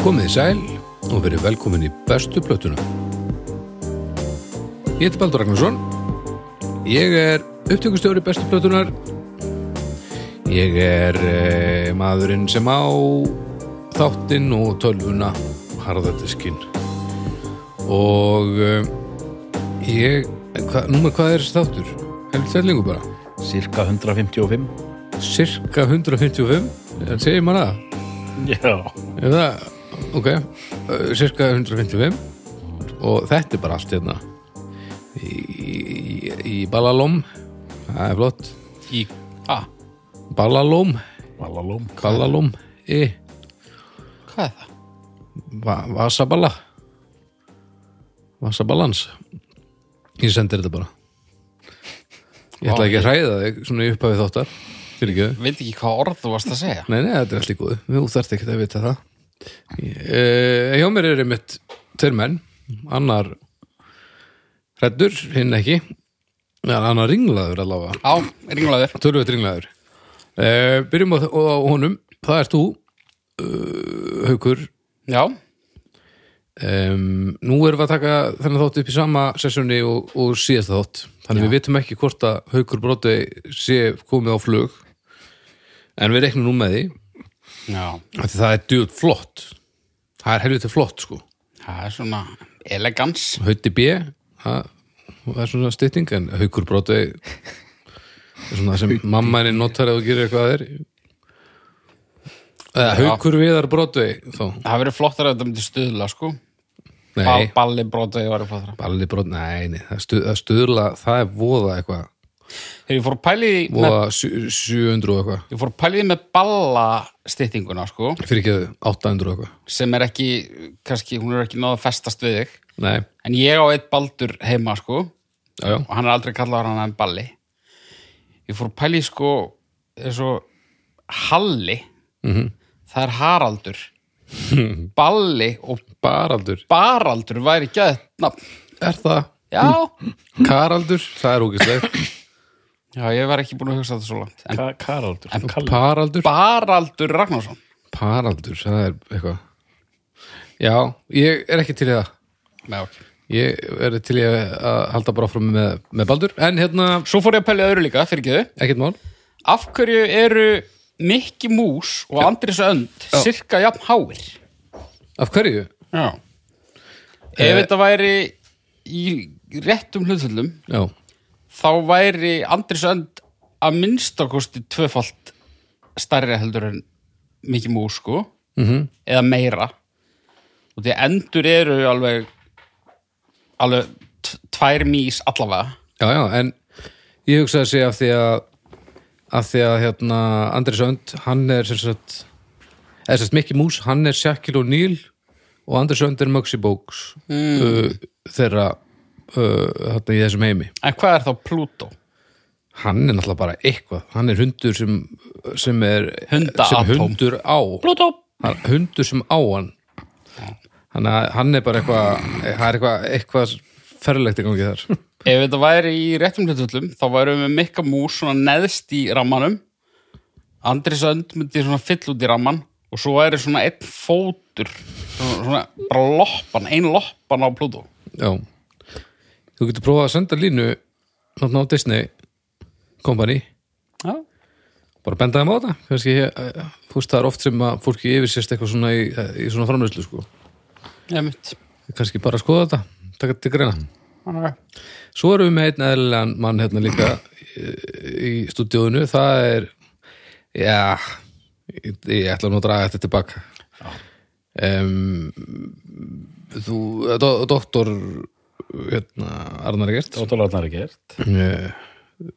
Komið sæl og verið velkomin í bestu plötuna. Ég heiti Baldur Ragnarsson. Ég er upptökustjóri bestu plötunar. Ég er eh, maðurinn sem á þáttinn og tölvuna harðardiskin. Og eh, ég, hva, númer hvað er þessi þáttur? Helvið tællingu bara. Cirka 155 Cirka 155, en segir maður það? Já Ef það, ok, uh, cirka 155 og þetta er bara allt hérna í, í, í Balalóm, það er flott, Í A Balalóm, Valalóm Kalalóm, í, Hvað er það? e, va, Vasabala, Vasabalans, ég sendir þetta bara. Ég ætla ekki að hræða þig svona í upphafið þáttar, fyrir ekki þau. Veit ekki hvað orð þú varst að segja Nei, nei, þetta er allt í góðu. Þú þarft ekkert að vita það. Uh, hjá mér eru mitt tveir menn, annar hræddur, hinn ekki, en annar ringlaður allavega. Á, ringlaður Tölvöld ringlaður. Uh, byrjum á, á honum, það ert þú, uh, Haukur. Já, Um, Nú erum við að taka þennan þátt upp í sama sessjóni og, og síðasta þátt. Þannig við vitum ekki hvort að Haukur Bróti sé komið á flug, en við reiknum nú með því. já, Af því það er djúð flott það er helviti flott sko það er svona elegans Hauti B það það er svona stytting en haukur bróti er svona sem mamma henni notar ef þú gerir eitthvað að þér eða haukur viðar bróti þá, Það verður flottar að þetta myndi stuðla sko Bal, nei, Balli brotið var upp á það balli bróti nei, nei, það stu- það stuðla, það er voða eitthvað, Þegar ég fór að pæli því með, voða sjö- 700 og eitthvað, Ég fór að pæli því með balla styttinguna sko fyrir ekki 800 og eitthvað, sem er ekki, kannski, hún er ekki náða að festast við þig nei, En ég á eitt baldur heima sko og já, já hann er aldrei kallaður hann en balli Ég fór að pæli sko eins og Halli það er Haraldur Balli og Baraldur, Baraldur væri ekki að nafn. er það Já. Karaldur, það er ógislega Já, ég var ekki búin að hugsa þetta svo langt. En Ka Karaldur en Kal Paraldur Baraldur Ragnarsson. Paraldur, það er eitthvað Já, ég er ekki til í það Nei, ok. Ég er til í að halda bara áfram með, með Baldur En hérna, Svo fór ég að pæla í öðru líka, fyrir ekki þau. ekkert mál Af hverju eru Mikki Mús og Andris Önd cirka jafn háir? Af hverju? Já. Ef þetta væri í réttum hlutullum, Já, þá væri Andris Önd að minnstakosti tvöfalt stærri heldur en Mikki Mús, sko. -hmm. Eða meira. Og því að endur eru alveg, alveg t- tvær mís allavega. já, já, en ég hugsaði að segja af því að af því að hérna Andris Önd, hann er sem sagt eða sem sagt Mickey Mouse, hann er Shaquille O'Neal og Andris Önd er Mugsy Bogues mm. uh, þeirra uh, þarna í þessum heimi En hvað er þá Plútó? hann er náttúrulega bara eitthvað hann er hundur sem, sem er Hundaatom. sem hundur á Plútó! hann, hundur sem á hann hann, hann er bara eitthvað það er eitthvað, eitthvað ferlegt í gangi þar Ef þetta væri í réttum hlutullum, þá værum við Mikka Mús svona neðst í rammanum. Andris Önd myndi svona fyll út í ramman og svo væri svona einn fótur, svona, svona bara loppan, ein loppan á Plútó. já þú getur prófað að senda línu náttúrulega á Disney Company Já. bara benda þeim á þetta kannski, eh, þú veist það er oft sem að fólki yfirsist eitthvað svona í, í svona framlöslu sko. Ég mitt. kannski bara að skoða þetta taka til greina Okay. Svo erum við með einn eðlilegan mann hérna líka eh, í í stúdíóinu, það er já ég, ég ætla nú að draga þetta tilbaka um, þú, do, doktor hérna, Arnar Egert Dóttalarnar er gert eh,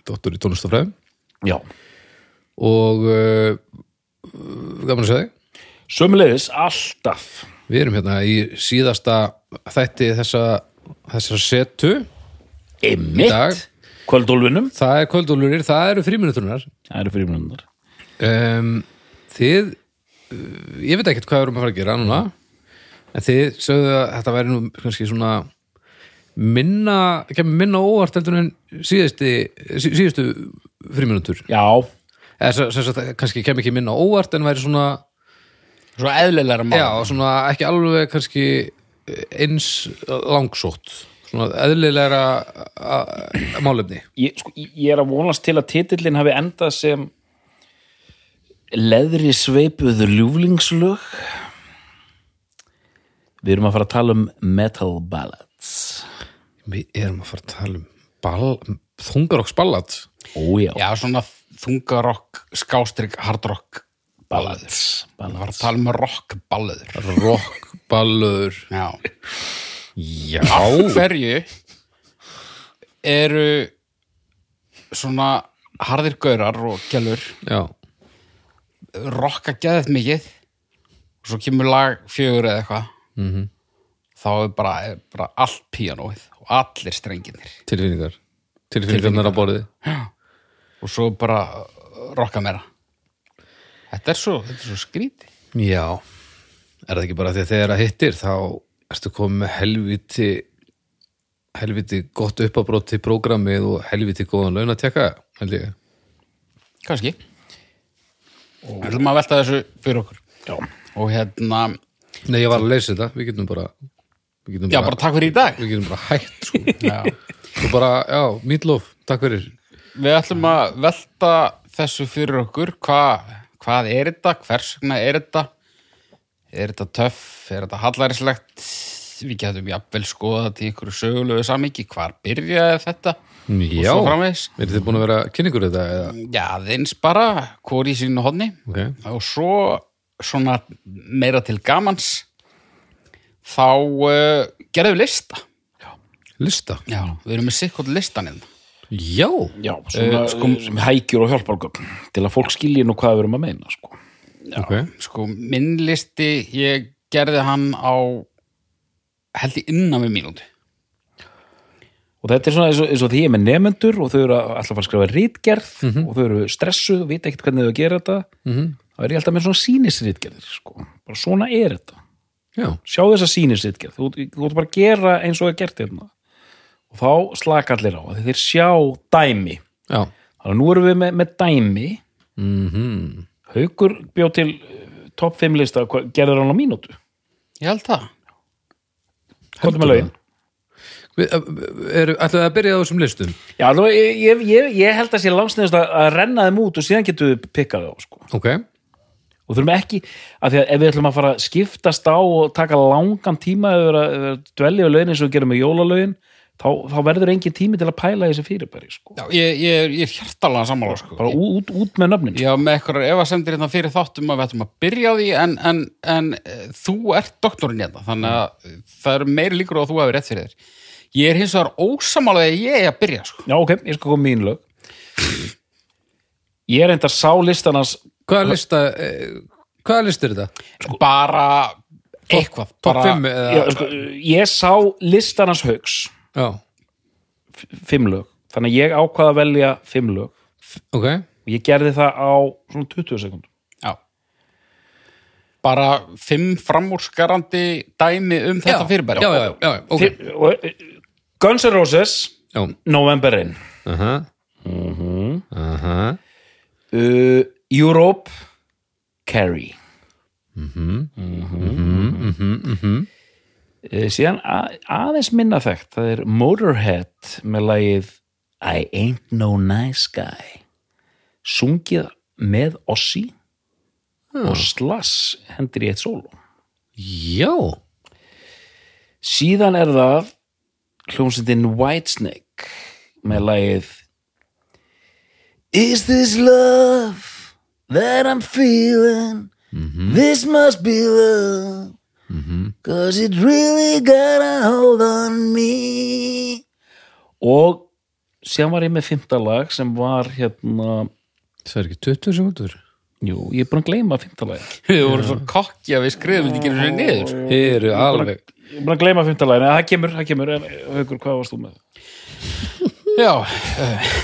doktor í tónlistafræðum Já og uh, gaman að segja þig Sömulegis alltaf Við erum hérna í síðasta þætti þessa, þessar setu í dag. Emmitt Kvöldólfinum Það er kvöldúlurir, það eru fríminutunar Það eru fyrir mjöndar um, Þið uh, ég veit ekkert hvað við erum að fara að gera núna en þið sögðu að þetta væri nú kannski svona minna, kemur minna á óvart heldur en síðusti, sí, síðustu fríminútur Já eða sem, sem sagt, kannski kemur ekki minna á óvart en væri svona Svo eðlilegra mál. Já, svona ekki alveg kannski eins langsótt svona eðlilegra a- a- málefni ég, sko, ég er að vonast til að titillin hafi endað sem leðri sveipuðu ljúflingslög við erum að fara að tala um metal ballads Við erum að fara að tala um ball, þungarokks ballad ójá, Já, svona þungarokk, skástrík, hardrokk ballads, Það ballads. var að tala um rockballöður. rock ballur Já. Já, Hverju eru svona harðir gaurar og gælur já, rocka geðið mikið og svo kemur lag fjögur eða eitthvað -hmm. þá er bara, er bara allt píanóið og allir strenginir tilfinningar tilfinningarnar á borðið og svo bara uh, rocka meira Þetta er svo, þetta er svo skríti Já, er það ekki bara því að þegar það hittir þá ertu komið með helviti helviti gott uppabrótt til prógramið og helviti góðan launatjekka, held ég Kanski Við ætlum að velta þessu fyrir okkur Já. og hérna, Nei, ég var að leysa þetta, við getum bara við getum já bara takk fyrir í dag við getum bara hægt sko. Já. og bara, já, mýtlof, takk fyrir Við ætlum að velta þessu fyrir okkur Hva, hvað er þetta, hvers vegna er þetta er þetta töff, er þetta hallaríslegt við getum jafnvel skoða til ykkur sögulegu samíki, hvar byrjaði þetta Já, svo framvegis. er þið búin að vera kynningur þetta eða, já, þeins bara, hvor í sínu hodni ok, og svo svona meira til gamans þá uh, gerðum við lista lista já, við erum með sikkot listan hérna Já, já, svona sko, hækjur og hjálpargögn til að fólk skilji nú hvað við erum að meina sko. ok, sko, minn listi ég gerði hann á held ég innan við mínúti og þetta er svona eins og, eins og því ég er með nefendur og þau eru að- alltaf að fara að skrifa rítgerð og þau eru stressuð, vita ekkert hvernig þau að gera þetta þá er ég alltaf með svona sínisrítgerðir sko. bara svona er þetta já, sjá þessa sínisritgerð þú, þú ert bara að gera eins og það er gert hérna og þá slaka allir á af því þeir sjá dæmi já þannig að nú erum við með, með dæmi mm Haukur bjó til eh, topp 5 lista hvað gerður hann á mínútu ég held það hvað er með lögin? Við, eh, er, ætlum við að byrja á þessum listum Já, nú, ég, ég, ég, ég held að sé langsniðast að, að renna þeim út og síðan getum við pikkað á sko. Ok, og þurfum ekki, af því að ef við ætlum að fara að skiptast á og taka langan tíma yfir að, yfir að dvelja á lögin eins og við gerum með jólalögin þá, þá verður engin tími til að pæla í þessi fyrirbæri sko. Já, ég, ég, er- ég er hjartalega sammála sko. bara ú- út, út með nöfnin sko. ég var með eitthvað efasemdir hérna fyrir þáttum að við ættum að byrja á því en, en, en eh, þú ert doktorinn hérna þannig að það eru meiri líkur á að þú hefur rétt fyrir þér ég er hins vegar ósamála að ég er að byrja sko. Já, ok, ég skal koma með mín lög Ég er enda sá listan hans hvaða lista eh, hvaða list er þetta? bara eitthvað Top bara, um- 5 eða? já, sko, Ég sá listan hans haugs Já, Fimm lög Þannig að ég ákvað að velja fimm lög og ok ég gerði það á svona 20 sekund já. bara fimm framúrskarandi dæmi um þetta fyrirbæri Já, já, já, já, ok okay. og, eh, Guns N' Roses Já, November 1 aha Aha uh, Europe Carrie Mhm. Eh, Mhm. síðan a- aðeins minna þekkt það er Motorhead með lagið I ain't no nice guy sungið með Ossi og Slass hendur í eitt sóló Já, síðan er það hljómsveitin Whitesnake með lagið Is this love that I'm feeling This must be love Cause it really got a hold on me Og síðan var ég með fymta lag sem var hérna það er ekki 20 sekundur Jú, ég er búin að gleyma fymta lag við vorum svo kokki að við skrifum þetta ekki einu sinni niður sko. Þið eru alveg Ég er búin að gleyma fymta lag en það kemur, það kemur en, Haukur, hvað varst þú með? Já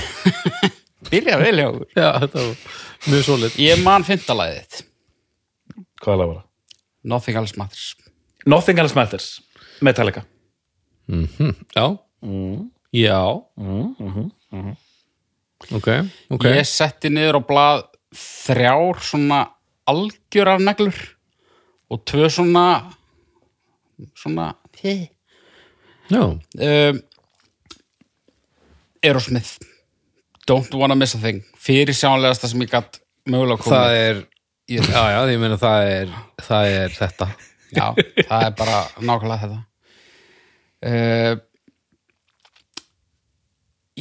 eh, Byrja vel hjá okkur. Já, þetta var mjög svolít Ég man fymtalæðið þitt Hvað lag var það? Nothing else matters Nothing Else Matters Metallica Já, Mm. já mhm, Ok, ok Ég setti niður á blað þrjár svona algjörar neglur og tvö svona svona um, Já, Aerosmith Don't Wanna Miss a Thing fyrir sjánlegasta sem ég gatt mögulega komið það er Já, já, ég meina það er, það er þetta Já, það er bara nákvæmlega þetta. Uh,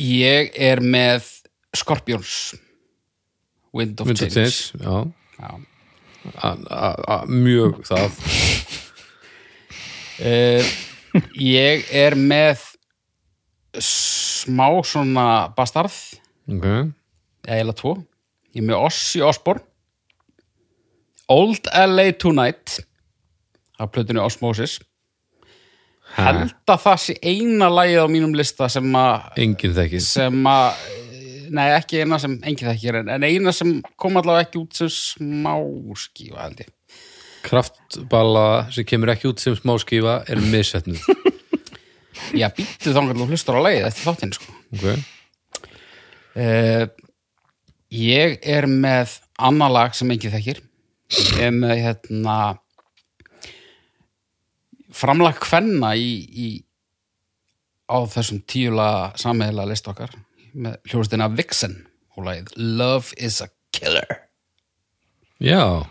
ég er með Scorpions Wind of Mynd og Change. tins, já A- a- a- Mjög það Uh, ég er með smá svona bastarð, Ok, eða eiginlega tvo. Ég er með Ossi Osborn Old LA Tonight af plötunni Osmosis. Held að það sé eina lagið á mínum lista sem að enginn þekkir sem að nei, ekki eina sem, engin það ekki er en eina sem kom allavega ekki út sem smá skífa held ég Kraftballa sem kemur ekki út sem smáskífa er missetnud já, býttu þangar þú hlustar á lagið eftir þáttinn sko Ok, uh, ég er með annað lag sem engin þekkir ég er með hérna framlag kvenna í, í á þessum tíula sammeðla list okkar með hljóðstina Vixen og lagið Love is a Killer já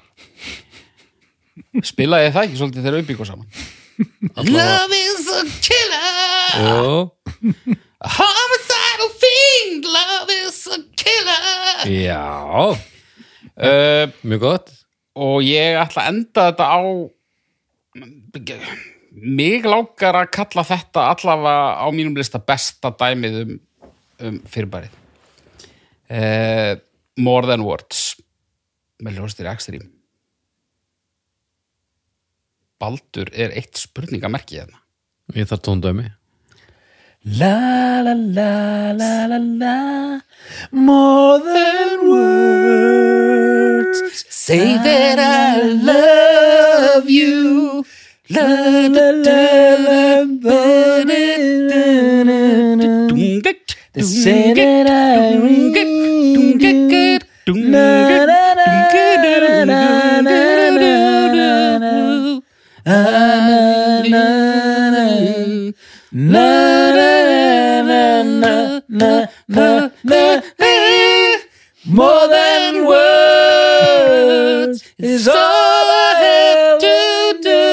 spilaði það ekki svolítið þegar uppbyggur saman Love is a killer Og a homicidal fiend Love is a killer Já, Eh, uh, mjög gott og ég ætla að enda þetta á mig langar að kalla þetta allavega á mínum lista besta dæmið um, um fyrirbærið uh, More Than Words með ljóstir Extreme Baldur er eitt spurningamerki hérna Ég þarf tóndæmi La la la la la la More than words Say that I love you La la la la la la la la They say that I read Na, na, na, na, na, na, na, na. Na, na, na, na. Na, na, na, na, na, na, na, na. More than words is all I have to do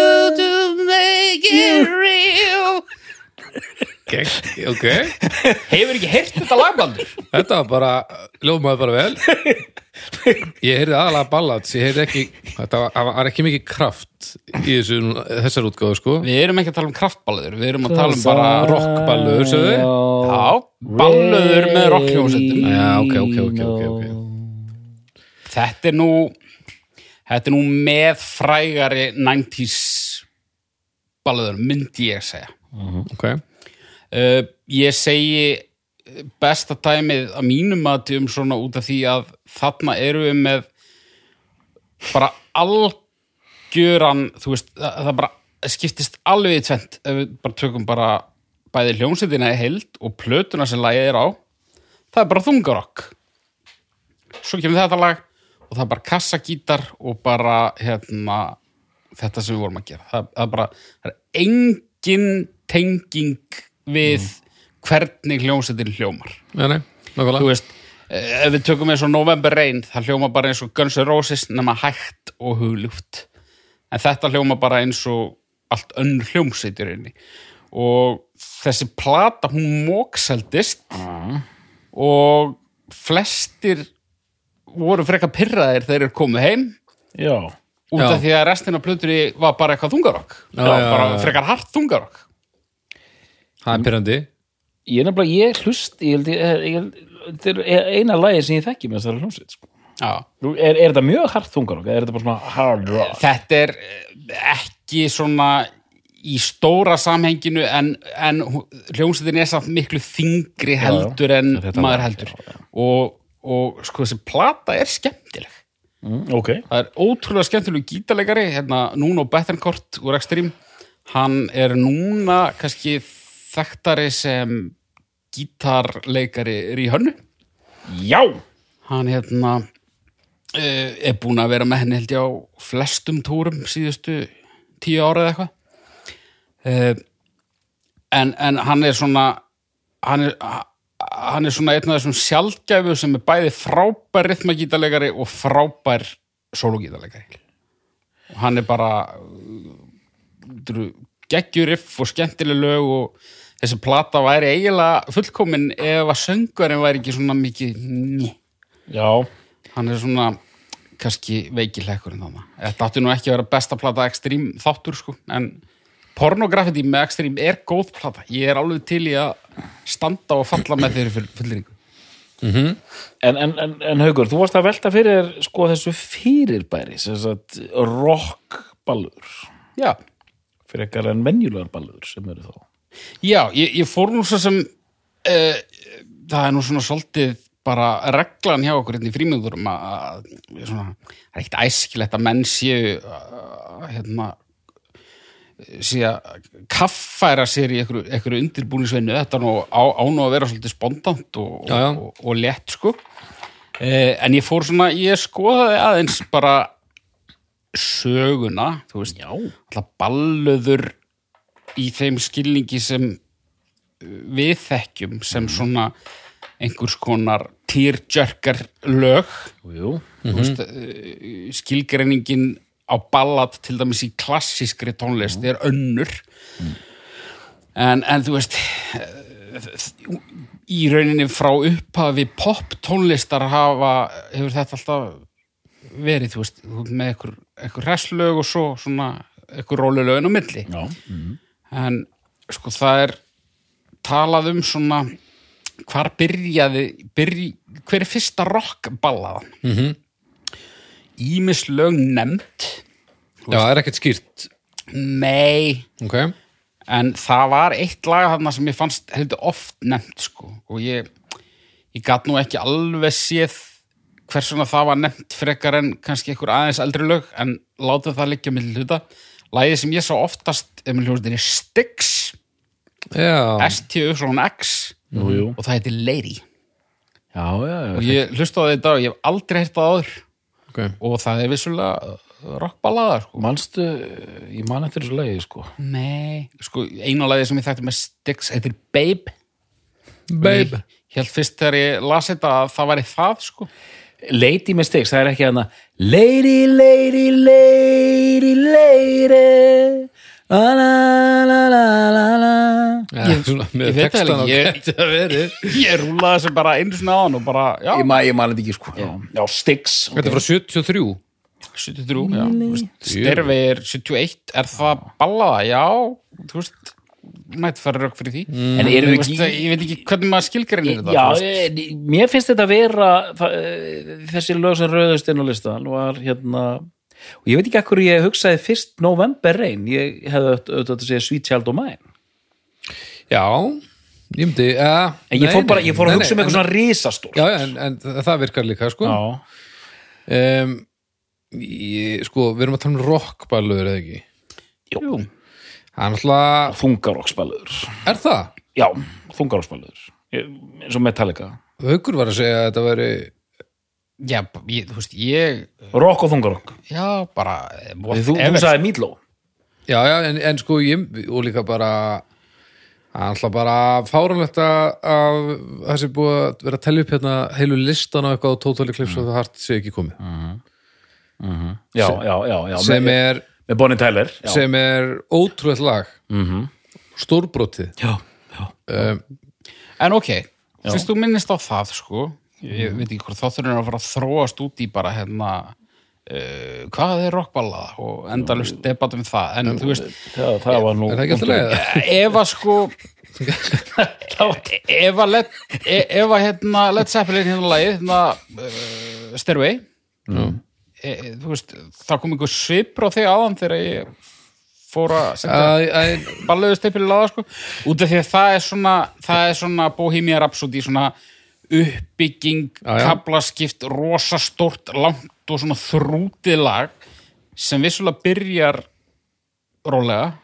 to make it real. okay. ok, Hefur ekki heyrt þetta lagbandur? þetta var bara Ljómaði bara vel Ég heyrði aðalega ballads Ég heyrði ekki, þetta var, það var ekki mikið kraft Í þessu, þessar útgáðu sko Við erum ekki að tala um kraftballður, við erum að tala um bara rock. Rockballur, sögðu Já, ballöður með rockljómsveitum. Já, ok, ok, ok, ok, ok Þetta er nú, þetta er nú með frægari 90s ballöður, myndi ég segja. Ok, Uh, ég segi eh, besta dæmið að mínum mati um svona út af því að þarna eru við með bara algjöran, þú veist, það, það bara skiptist alveg í tvent ef við bara tökum bara bæði hljómsveitina í heild og plötuna sem lagið er á það er bara þungarokk svo kemur þetta lag og það er bara kassagítar og bara hérna, þetta sem við vorum að gera það, það er bara, það er engin tenging við hvernig hljómsveitin hljómar já, nei, þú nákvæmlega veist, eh, ef við tökum eins og November Rain, það hljóma bara eins og Guns N' Roses nema hægt og hugljúft en þetta hljóma bara eins og allt önnur hljómsveitur inni og þessi plata hún mókseldist og flestir voru frekar pirraðir þegar þeir komu heim Já. út Já. af því að restin af plötunni var bara eitthvað þungarokk Já, já, bara já, já. frekar hart þungarokk Það er pyrrandi Ég er nefnilega, ég hlust, ég held, ég, ég, þetta er e- eina lagi sem ég þekki með þessari hljómsveit, sko. já Nú, Er, er þetta mjög hart þungar okkar? Er þetta bara svona hard rock? þetta er eh, ekki svona í stóra samhenginu en, en hú- hljómsveitin er samt miklu þingri heldur en Þetta maður um, var- heldur Og, og sko þessi plata er skemmtileg Mm, ok. það er ótrúlega skemmtileg gítalegari hérna Nuno Bettencourt úr Extreme hann er núna kannski þekktari sem gítarleikari í hönnu Já! hann hérna uh, er búin að vera með henni held ég á flestum túrum síðustu tíu ára eða eitthvað uh, en, en hann er svona hann er, hann er svona einn af þessum sjálfgæfu sem er bæði frábær rithmagítalegari og frábær sólugítalegari og hann er bara geggjur riff og skemmtileg lög og þessi plata væri eiginlega fullkomin ef að söngurinn væri ekki svona mikið njö Já, hann er svona kannski veikilekkurinn þannig þetta átti nú ekki að vera besta plata Extreme þáttur sko, en pornografiti með Extreme er góð plata ég er alveg til í að standa og falla með þeirri fyrir fullringu en, en, en, en Haugur, þú varst að velta fyrir þér, sko þessu fyrirbæri, sem sagt rockballur, já, fyrir ekkar en venjulegar ballur sem eru þá. já ég, ég fór nú svo sem uh, það er nú svona svolítið bara reglan hjá okkur hérna í frímiðurum að, að svona, það er ekkert æskilegt að menn séu að, hérna sé að kaffæra sér í einhverju, einhverju undirbúningsvinnu þetta nú á, á nú að vera svolítið spontant og, Já, já. og, og lett sko eh, en ég fór svona, ég skoðaði aðeins bara söguna, þú veist já. alltaf balluður í þeim skilningi sem uh, við þekkjum sem svona einhvers konar týrjörkar lög Jú, Jú, mm -hmm. skilgreiningin á ballad til dæmis í klassískri tónlist er önnur en, en þú veist í rauninni frá upphafi pop tónlistar hafa hefur þetta alltaf verið þú veist, þú ert með einhver, einhver hresslög og svo svona einhver rólulögin á milli já, en sko það er talað um svona hvar byrjaði byrj, hver er fyrsta rockballaðan mm -hmm. Ímislög nefnd Já, það er ekkert skýrt nei Ok, en það var eitt lag þarna sem ég fannst heldur oft nefnt sko og ég, ég gat nú ekki alveg séð hversuna það var nefnt frekar en kannski einhver aðeins eldri lög en láta það liggja milli hluta lagið sem ég sá oftast er með hljóðinni Styx já STU-X jú, jú. og það heitir Lady Já, já, já. og ég hlusta á þetta og ég hef aldrei heyrt það áður okay. og það er vissulega uh, rockballaðar sko. Manstu, ég man eftir þessu lagi, sko. Nei, sko, eina lagið sem ég þekkti með Styx heitir Babe Babe Ég held fyrst þegar ég las þetta að það væri það sko Lady Mistakes, það er ekki hana Lady, lady, lady, lady La la la la la la Já, svona, ég með veit það textan ekki, og ég- gæti að verið Ég rúlaði þessu bara einu svona á hann og bara, já, Ég man, ég man þetta ekki, sko Já, já Sticks Þetta er frá 73 73 já, þú veist, Sterfi er 71 Er það ballaða? Já, þú veist mætt fara rögg fyrir því mm. En erum við veist, ekki- ég veit ekki hvernig maður skilgrinir þetta Já, þú veist. eh, mér finnst þetta að vera það, eh, þessi lög sem rauðust inn á listan var hérna og ég veit ekki akkur ég hugsaði fyrst November Rain, ég hefði auðvitað auðvitað að segja Sweet Child of Mine Já, ég myndi uh, En ég fór bara, ég fór að hugsa um eitthvað svona risastórt Já, já, en, en það virkar líka sko Já. um, ég, Sko, við erum að tala um rockballur eða ekki Jú, Það er náttúrulega, þungaroksbalur er það? Já, þungaroksbalur eins og Metallica Haukur var að segja að þetta væri já ég, þú veist, ég Rock og þungarokk Já, bara Þú, þú sagði Míló Já, já, en, en sko ég, og líka bara það er alltaf bara fáránlegt að að það sé búið að vera að telja upp hérna heilu listan á eitthvað á Total Mm. Eclipse of the Heart sé ekki komið Já, já, já, já sem með, er, með Bonnie Tyler já. sem er ótrúið lag mm Mhm. -hmm. stórbrotið já, já, um, En ok, fyrst þú minnist á það sko, ég veit ekki hvort þátturinn er að fara að þróast út í bara hérna uh, hvað er rockballaða og endalust debatt um það en þú veist, það, það var nú er það ekki alltaf leið? ef að sko ef að let, e, ef að hérna Led Zeppelin hérna lagið hérna uh, Stairway e, e, þú veist, það kom einhver svipur á þig aðan þegar ég fór að senda Æ, æ, balluðu steipil laða sko út af því að það er svona það er svona Bohemian Rhapsody svona uppbygging, Já, já. kaplaskipt rosastort, langt og svona þrútið lag sem vissulega byrjar rólega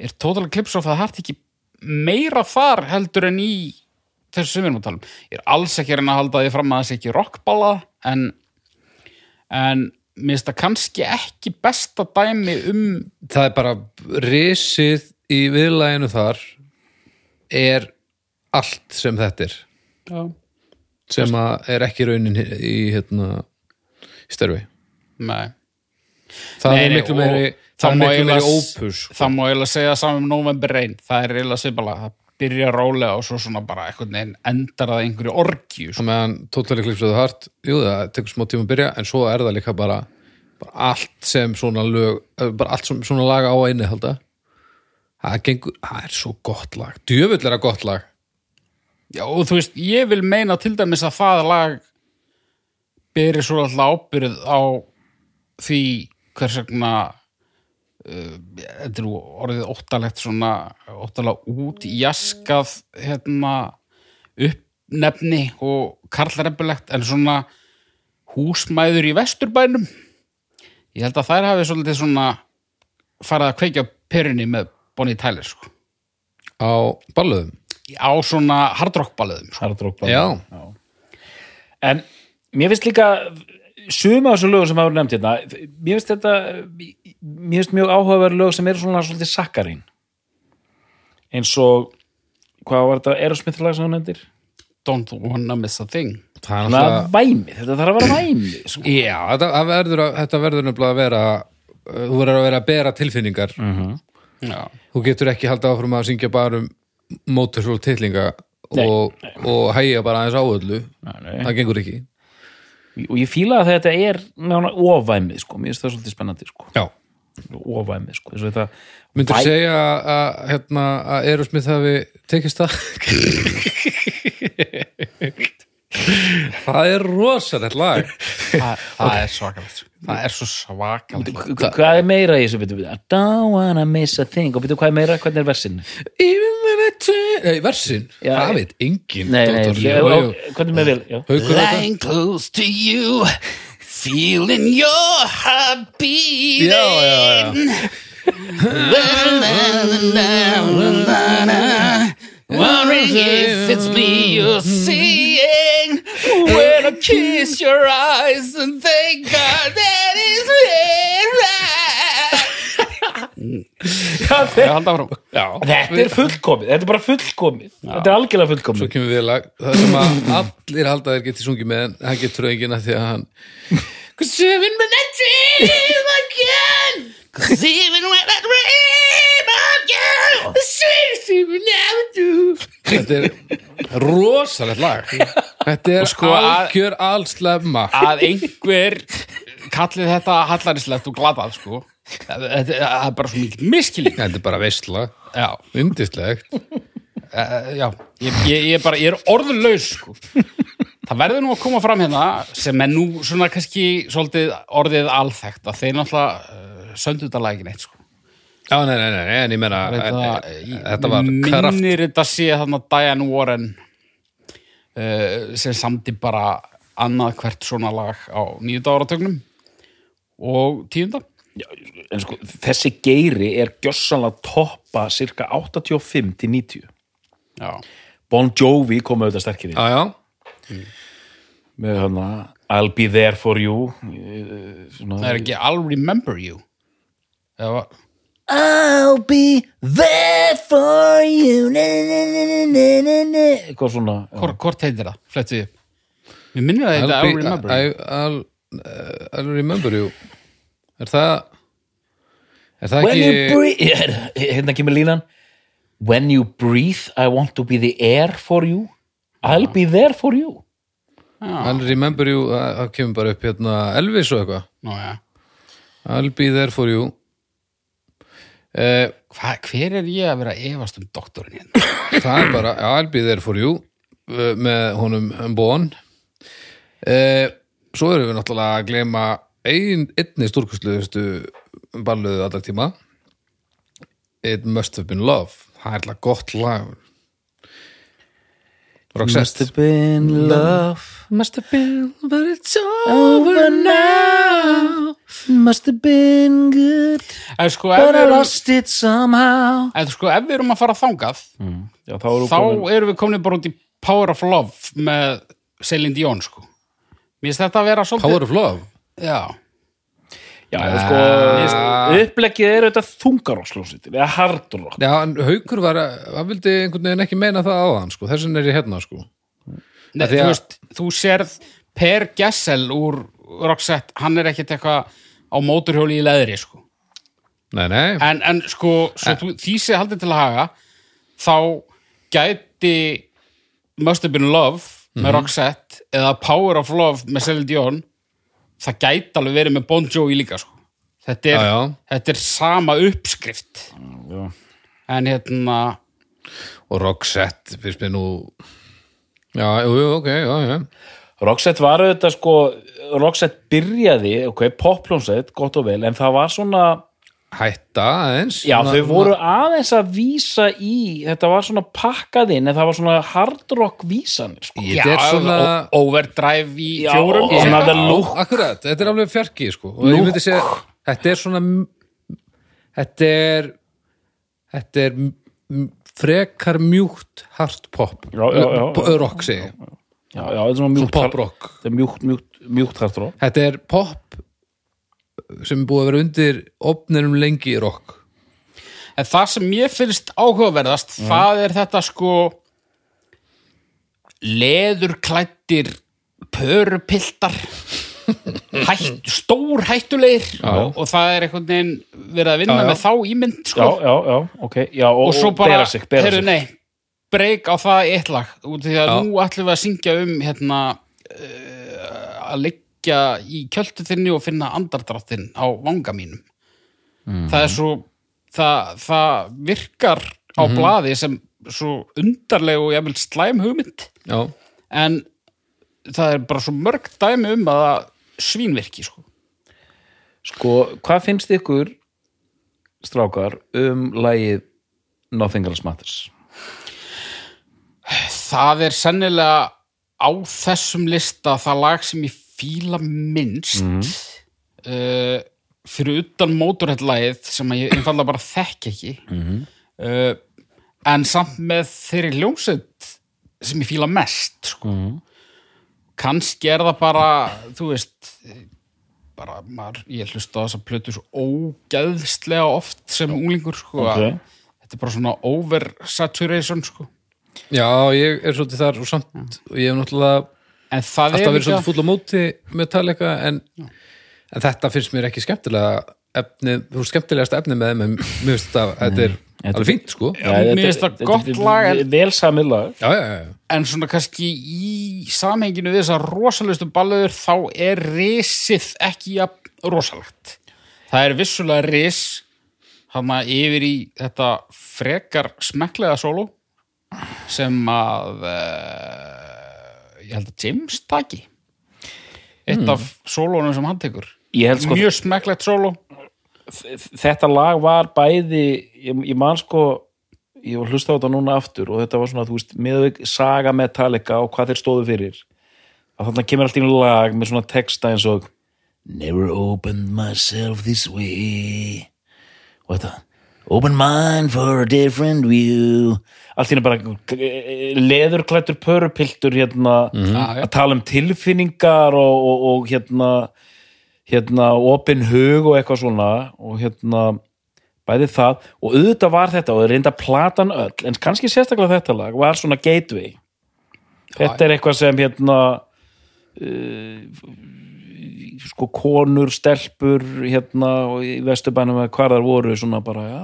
er Total Eclipse of the Heart ekki meira þar heldur en í þessu sem við erum að tala um ég er alls ekki að reyna að halda því fram að það sé ekki rockballa en en mér finnst það kannski ekki besta dæmi um það er bara risið í viðlæginu þar er allt sem þetta er já, sem að er ekki raunin í hérna í stærfi nei það Nei, er nei, miklu og meiri það það er má miklu meiri eiginlega- ópus sko. það má eiginlega segja saman um November Rain það er eiginlega svipalega, það byrja rólega og svo svona bara einhvern veginn endar það einhverju orgju og meðan Totally Eclipse of the Heart jú það tekur smá tíma að byrja en svo er það líka bara, bara allt sem svona lög, eh, bara allt sem svona lag á að innihalda það gengur, það er svo gott lag djöfull er að gott lag Já, og þú veist, ég vil meina til dæmis að það lag beri svo alltaf ábyrð á því hvers vegna uh, þetta er nú orðið óttalegt svona óttalega út jaskað hérna uppnefni og karlreppulegt en svona húsmæður í vesturbænum ég held að þær hafi svolítið svona farið að kveikja á perunni með Bonnie Tyler sko. á ballöðum á svona hardrockbalöðum sko. Hardrock band. já, En mér finnst líka suma af þessum lögum sem hafa verið nefnt hérna mér finnst þetta mér finnst mjög áhugaverð lög sem eru svona svolítið sakkarinn eins og hvað var þetta Aerosmith lag sem hún nefndir? don't wanna miss a thing það er Þannig náttúrulega að væmi, þetta þarf að vera væmi sko. Já, þetta það verður, að- þetta verður nefnilega að vera uh, þú verður að vera að bera tilfinningar Mm. já, þú getur ekki halda áfram að syngja bara um mótursól titlinga Nei, og, og hægja bara aðeins á öllu nei. það gengur ekki og ég fíla að þetta er nána ofæmi sko, mér finnst það svolítið spennandi sko, Já, ofæmi sko, eins og þetta myndur Væ- segja að, að, hérna, að Erosmith hafi tekist það Það er rosalegt lag það, það er svakalegt það er svo svakalegt hvað er meira í þessu byrju, byrju, I don't wanna miss a thing og byrju hvað er meira, hvernig er versin Even when I turn- Nei, versin, Já, það ég- veit engin nei, nei, Dr. ég, Jú, og, jú. hvernig með vil já. er Haukur þetta? close to you feeling your heart beating Já, já, já wondering if it's me you're seeing when I kiss your eyes and thank God that is right þetta held áfram er fullkomið, þetta er bara fullkomið þetta er algjörlega svo fullkomið kemur við lag það sem að allir halda að þeir geti sungið með en hann getur það enginn að því að hann Cause even when I dream again Cause even when I dream again The sweetest you will never do þetta er rosalegt lag þetta er sko að- algjör allslefma Að einhver kallið þetta hallarislegt og glatað sko Það það- það er bara svo mikil miskilík þetta er bara veistla, Já, yndislegt eh, já ég, ég, ég, er bara, ég er orðlaus sko Það verður nú að koma fram hérna sem er nú svona kannski svolítið orðið alþekkt að þeir náttúrulega uh, söndu þetta lag ekki neitt sko já, nei, nei, nei, en ég meina þetta, þetta var minnir kraft þetta sé þannig að Diane Warren uh, sem samdi bara annað hvert svona lag á nýjunda áratögnum og tíunda en sko, þessi geiri er gjössanlega toppa cirka 85 til 90 já, Bon Jovi kom auðvitað sterkir inn já, já, með hana I'll be there for you eh, svona, það er ekki I'll remember you það var I'll be there for you na, na, na, na, na, na, na. eitthvað svona já. hvort, hvort heitir það, flettu við við minnum það þetta I'll be- remember you I- I'll, uh, I'll remember you er það er það When you ekki breathe Hér- hérna kemur línan When you breathe I want to be the air for you I'll be there for you I'll remember you, það það kemur bara upp hérna Elvis og eitthvað Nú, ja. I'll be there for you uh, Hva, hver er ég að vera að efast um doktorinn hérna Það er bara I'll be there for you uh, með honum Bon uh, Svo erum við náttúrulega að gleyma ein, einni stúrkustluðustu balluðu allar tíma It must have been love Það er alltaf gott lag Roxette been love Must have been, but it's over now Must have been good en sko, ef við erum, it somehow en sko, ef við erum að fara þangað Já, þá eru þá erum við komin bara út í Power of Love með Celine Dion sko. Mér finnst þetta að vera svolítið Power of Love já, Já, sko, uppleggið er auðvitað þungarokksljómsveitir eða hardrock. Já, en haukur var að, hann vildi einhvern veginn ekki meina það áðan, sko, þess vegna er ég hérna, sko. Nei, því þú að- veist, þú sérð Per Gessel úr Roxette, hann er ekkit eitthvað á móturhjóli í leðri, sko. Nei, nei, En, en sko, svo þú, því sé haldið til að haga, þá gæti Must Have Been Love Mhm. með Roxette eða Power of Love með Celine Dion, það gæti alveg verið með Bon Jovi líka, sko. Þetta er, Já, já. Þetta er sama uppskrift. En hérna, og Roxette, finnst mér nú, já, jú, jú, ok, já, já, Roxette var auðvitað sko, Roxette byrjaði, ok, popljómsveit, gott og vel, en það var svona, hætta aðeins. já, Svona- þau voru aðeins að vísa í, þetta var svona pakkað inn, en það var svona hardrock vísanir, sko. Ég- Þetta er svona- ó- overdrive í Já, fjórum. og- og svona þetta Já, lúk. Akkurat, þetta er alveg fjarki, sko, og ég myndi segja, þetta er svona, þetta er, þetta er m- frekar mjúkt hard pop, Já, já, já, já. rock segi, ég. Já, já, þetta er svona mjúkt, pop rock. þetta er mjúkt, mjúkt, mjúkt hardrock. Þetta er pop sem er búið að vera undir opninum lengi í rock. En það sem mér finnst áhugaverðast, það er þetta sko leðurklættir pörupiltar hætt, stór hættulegir og, og það er einhvern veginn verið að vinna Já, já. með þá ímynd Já, sko. já, já, ok, já, og, og svo bara, bera sig, bera heyrðu, sig. nei, breyk á það í eitt lag út af því að Já. nú ætlum við að syngja um hérna uh, að liggja í kjöldu þinni og finna andardráttinn á vanga mínum Mhm. það er svo það, það virkar á Mhm. blaði sem svo undarleg og jafnvel slæm hugmynd Já, en það er bara svo mörg dæmi um að það svínvirki sko. Sko, hvað finnst ykkur strákar um lagið Nothing Else Matters? það er sennilega á þessum lista það lag sem ég fíla minnst uh, fyrir utan móturhættlægið sem að ég einfalla bara þekk ekki uh, en samt með þeirri hljómsveit sem ég fíla mest sko. kannski er það bara þú veist bara maður, ég hlusta á þess að plötu svo ógeðslega oft sem unglingur sko, að Ok. þetta er bara svona oversaturation sko. já ég er svolítið þar og samt og ég hef náttúrulega en það alltaf er verið líka- svolítið fúll á móti með talega en, en þetta finnst mér ekki skemmtilega efni, þú veist, skemmtilegasta efni með þeim en mér finnst þetta, þetta er alveg fínt sko Já, þetta- mér finnst það þetta- gott þetta- lag, en- Vel samið lag já, já, já. en svona kannski í samhenginu við þessar rosalustu ballöður þá er risið ekki jafn rosalegt það er vissulega ris hann að yfir í þetta frekar smekklega sóló sem að uh, ég held að James taki eitt af sólónum sem hann tekur Ég held sko- mjög smekklegt sóló Þetta lag var bæði ég, ég man sko ég var að hlusta á þetta núna aftur og þetta var svona, þú veist, miðauk saga Metallica og hvað þeir stóðu fyrir að þannig kemur allt í einu lag með svona texta eins og Never opened myself this way. What the? Open mind for a different view. allt í e, henni bara leðurklættur pörupiltur hérna, Mhm. að tala um tilfinningar og, og, og hérna hérna, opin hug og eitthvað svona og hérna bæði það og auðvitað var þetta og reynda platan öll, en kannski sérstaklega þetta lag var svona gateway þetta er eitthvað sem hérna uh, sko konur, stelpur hérna og í vesturbænum eða hvar þar voru svona bara, já,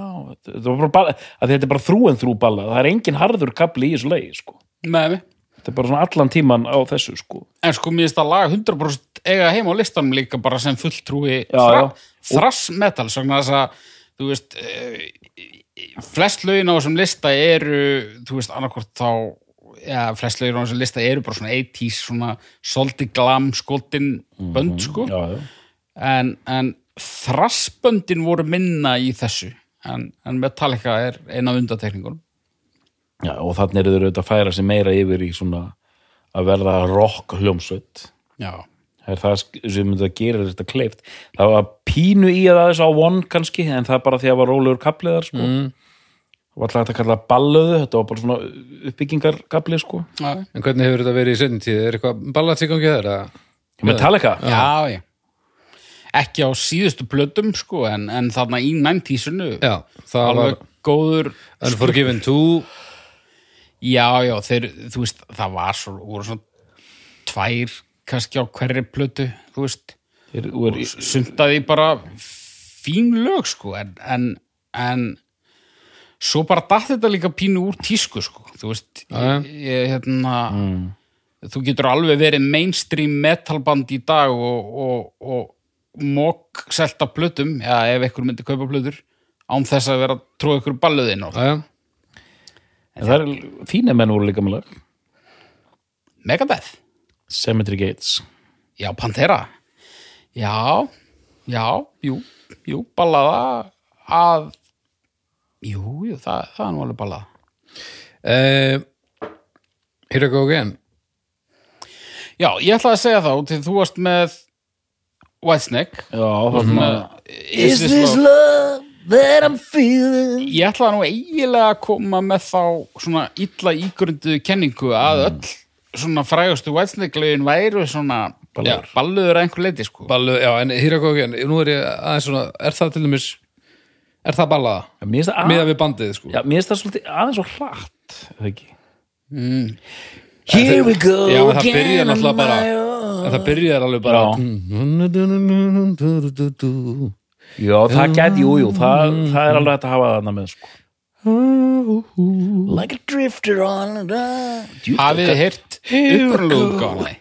þetta var bara balla, að þetta er bara þrú en þrú balla, það er engin harður kapli í þessu leið, sko. með mig Þetta er bara svona allan tíman á þessu, sko. en sko mér finnst að laga 100% eiga heim á listanum líka bara sem fulltrúi Já, já. thrass metal svona þess að þú veist eh, flest lögin á þessum lista eru þú veist annarkvort þá já, flest lögin á þessum lista eru bara svona 80s svona soldi glam skotin bönd sko Mhm, Já, já. en, en þrassböndin voru minna í þessu en, en Metallica er eina af undatekningunum já og þannig eru þau auðvitað að færa sig meira yfir í svona að verða rock hljómsveit. já, Það er það sk- sem þetta gerir þetta kleift. Það var pínu í að aðeins á one kannski, en það er bara því að var rólegur kapliðar, sko. Mm. Það var alltaf hægt að kalla það ballöðu, þetta var bara svona uppbyggingarkaplið, sko. já, en hvernig hefur þetta verið í seinni tíð er eitthvað ballað til gangi þar að Metallica? já, já. ekki á síðustu plötum sko, en, en þarna í 90-sunu Já, það alveg góður var Unforgiven 2 já, já, þeir, þú veist, það var svo, voru svona tvær kannski á hverri plötu þú veist, Þeir voru í- sumtaði bara fín lög sko, en, en, en svo bara datt þetta líka pínu úr tísku sko, þú veist Já, Mm. já. ég, ég, hérna þú getur alveg verið mainstream metalband í dag og, og, og mokk selta plötum eða ef ykkur myndi kaupa plötur án þess að vera að tróða ykkur balluðin og Já, já. En það er fína menn voru líka með lag Megadeth, Cemetery Gates já Pantera já, já jú, jú, ballaða að jú, jú, það, það er nú alveg ballaða Uh, here I go again já, ég ætlaði að segja þá til þú varst með Whitesnake Já, þarna Mm-hmm. Is this love that I'm feeling? ég ætlaði nú eiginlega að koma með þá svona illa ígrundu kenningu að öll svona frægustu vætsneiklegin væru svona balluður, balluður að einhver leiti sko Ballu, já, en here I go again Nú er ég aðeins svona, er það til dæmis Er það ballaða? Mér finnst það Miða að- við bandið, sko Já, mér finnst það svolítið aðeins og hratt er það ekki? Mm. Here we go Já, en það byrjar again on náttúrulega bara my en Það byrjar alveg bara Já. Mm-hmm. Já, það gæti, jú, jú, það, það er alveg hægt að hafa það annað með sko. Like a drifter on and on hafið þið heyrt upprunaluggáni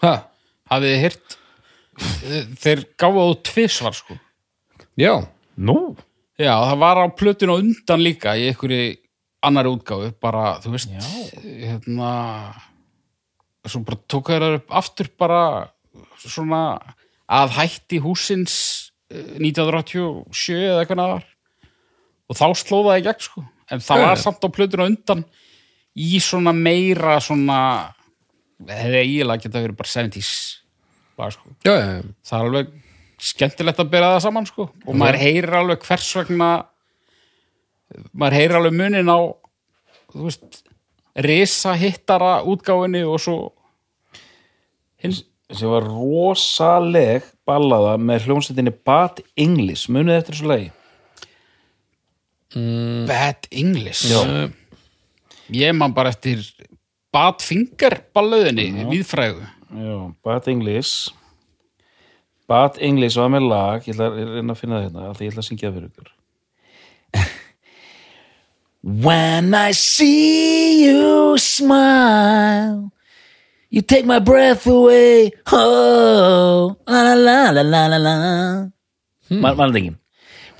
Ha, hafið þið heyrt þeir gáðu þú tvisvar sko já, Nú? já, það var á plötun og undan líka í einhverju annari útgáfu bara, þú veist hérna svo bara tók þeir upp aftur bara svona að hætti húsins eh, 1987 eða eitthvað það var og þá sló það í gegn sko en það var samt á plötun og undan í svona meira svona hefði eiginlega geta verið bara 70s lag sko já, já, já. það er alveg skemmtilegt að bera það saman sko. og maður heyrir alveg hvers vegna maður heyrir alveg munin á þú veist risa hittara útgáfinni og svo hins Þessi var rosaleg ballaða með hljómsveitinni Bad English, munið eftir þessu lagi. Bad English Eh, ég man bara eftir Bad Finger ballöðinni viðfrægu Já, Bad English. Bad English var með lag, ég ætla að ég reyna að finna það hérna, alltaf ég ætla að syngja það fyrir ykkur. When I see you smile, you take my breath away. Oh, la la la la la la. Hmm. Man, mann þingin.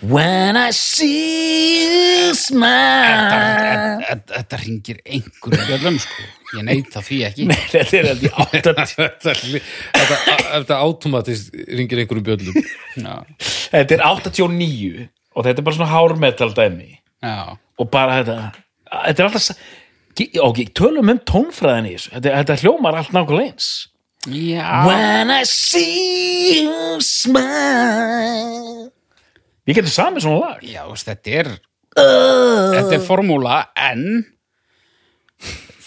When I see you smile, þetta þetta hringir einhverjum bjöllum sko. ég neita því ekki Þetta er held ég áttat. Þetta, li- þetta, þetta automatist ringir einhverjum bjöllum já, Þetta er 89 og þetta er bara svona hármetal dæmi. já. og bara þetta þetta er alltaf sa- Ge- ok, tölum um tónfræðin í þessu þetta, þetta hljómar allt nákvæmlega eins já. when I see you smile. við getum samið svona lag já þú veist, þetta er Oh, þetta er formúla en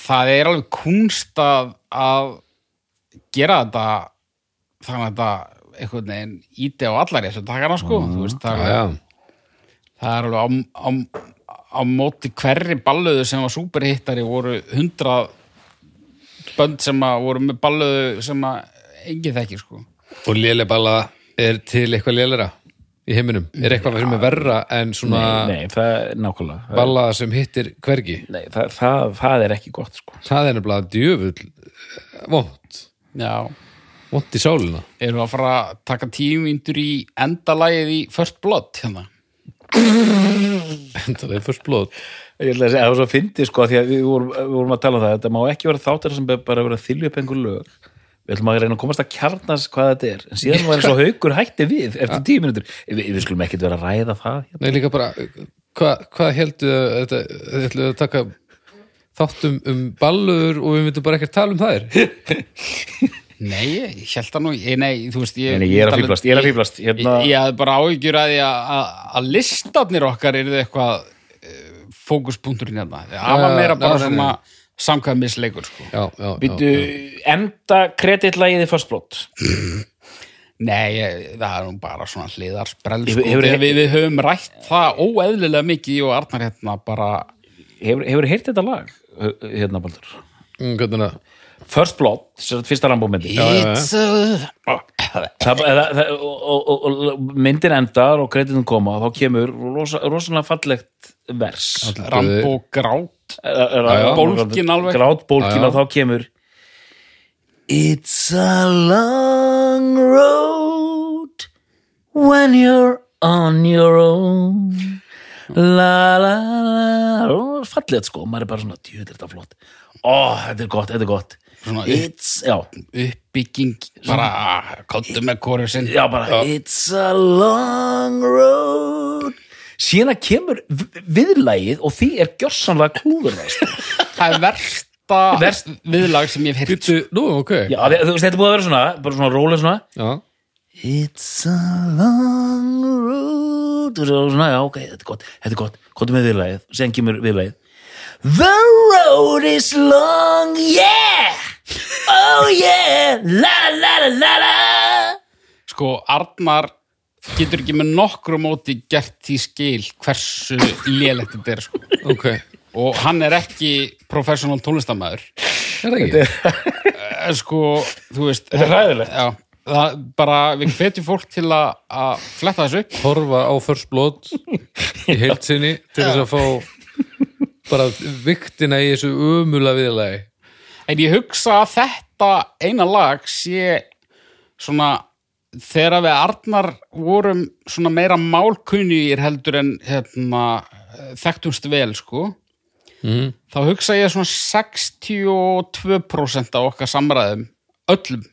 það er alveg kunst að, að gera þetta þannig að þetta einhvern veginn íti á allar þessu takana sko þú veist, það, Já, er, já, það er alveg á, á, á móti hverri ballöðu sem var superhittari voru hundra bönd sem að voru með ballöðu sem að engin þekkir sko og léle ballaða Er til eitthvað lélera í heiminum? Er eitthvað sem er verra en svona nei, það er nákvæmlega það, ballaða sem hittir hvergi? nei, það, það, það er ekki gott sko. Það er nefnilega djöfull eh, vont, já vont í sálina Erum við að fara að taka tíu myndur í endalagið í First Blood hérna? en það er fyrst blóð ég ætla að segja, það var svo fyndið sko því að við vorum, við vorum að tala um það þetta má ekki vera þáttar sem bara vera að þylja upp einhver lög við ætlum að reyna að komast að kjarnas hvað þetta er en síðan var eins og haukur hætti við eftir tíu mínútur, við, við skulum ekkert vera að ræða það hérna. Nei, líka bara, hvað hva heldur þau að þetta, heldur að taka þáttum um ballur og við myndum bara ekkert tala um þær Nei, ég ég held að nú, ég, nei, þú veist, ég... um- Nei, nei, ég er að fíflast, ég er að fíflast, Ég, hérna- ég hafði bara áhyggjur að því að- að- að listarnir okkar eru eitthvað eh, fókuspunkturinn hérna það var meira já, bara já, svona samkvæmisleikur sko. já, já, Býtu, já, enda kreditlægiði fyrstblót nei, ég- það er nú bara svona hliðarsprell Hefur- sko. hefur- við, við, við höfum rætt það óeðlilega mikið ég og Arnar hérna bara Hefur, hefur heyrt þetta lag, H- hérna Baldur? Mm, hvernig er það? First Blood, sem sagt fyrsta rambómyndi já, já. It's a... það, það, það, og, og, og myndir endar og kreditum koma og þá kemur rosa, rosalega fallegt vers Rambo grát Bólgin alveg. grátbólkin Já, já. og þá kemur It's a long road when you're on your own. la la la og fallegt sko, maður er bara svona djúður þetta er flott, ó þetta er gott, þetta er gott Svona it's, já, uppbygging bara, kóttu með kóru sinn já bara It's a long road. síðan kemur vi- viðlagið og því er gjörsanlega klúður sko. það er versta Verst- viðlag sem ég hef heyrt Býtu, nú, ok já, þú veist, þetta er búið að vera svona bara svona rólega svona já, It's a long road og svo svona, já, ok, þetta er gott þetta er gott, komdu með viðlagið, sen kemur viðlagið The road is long, yeah. Oh yeah, la la la la la. sko Arnar getur ekki með nokkru móti gert því skil hversu lélegt þetta er sko. ok Er og hann er ekki professional tónlistamæður það ekki? Eh, sko, þú veist Þetta er hræðilegt. já, það, bara, við hvetjum fólk til að, að fletta þessu upp Horfa á First Blood í heilsinni til þess að fá bara viktina í þessu ömula viðlagi En ég hugsa að þetta eina lag sé svona þegar við Arnar vorum svona meira málkunnýr heldur en hérna, eh, þekktumst vel sko Mhm. þá hugsa ég að svona 62% af okkar samræðum öllum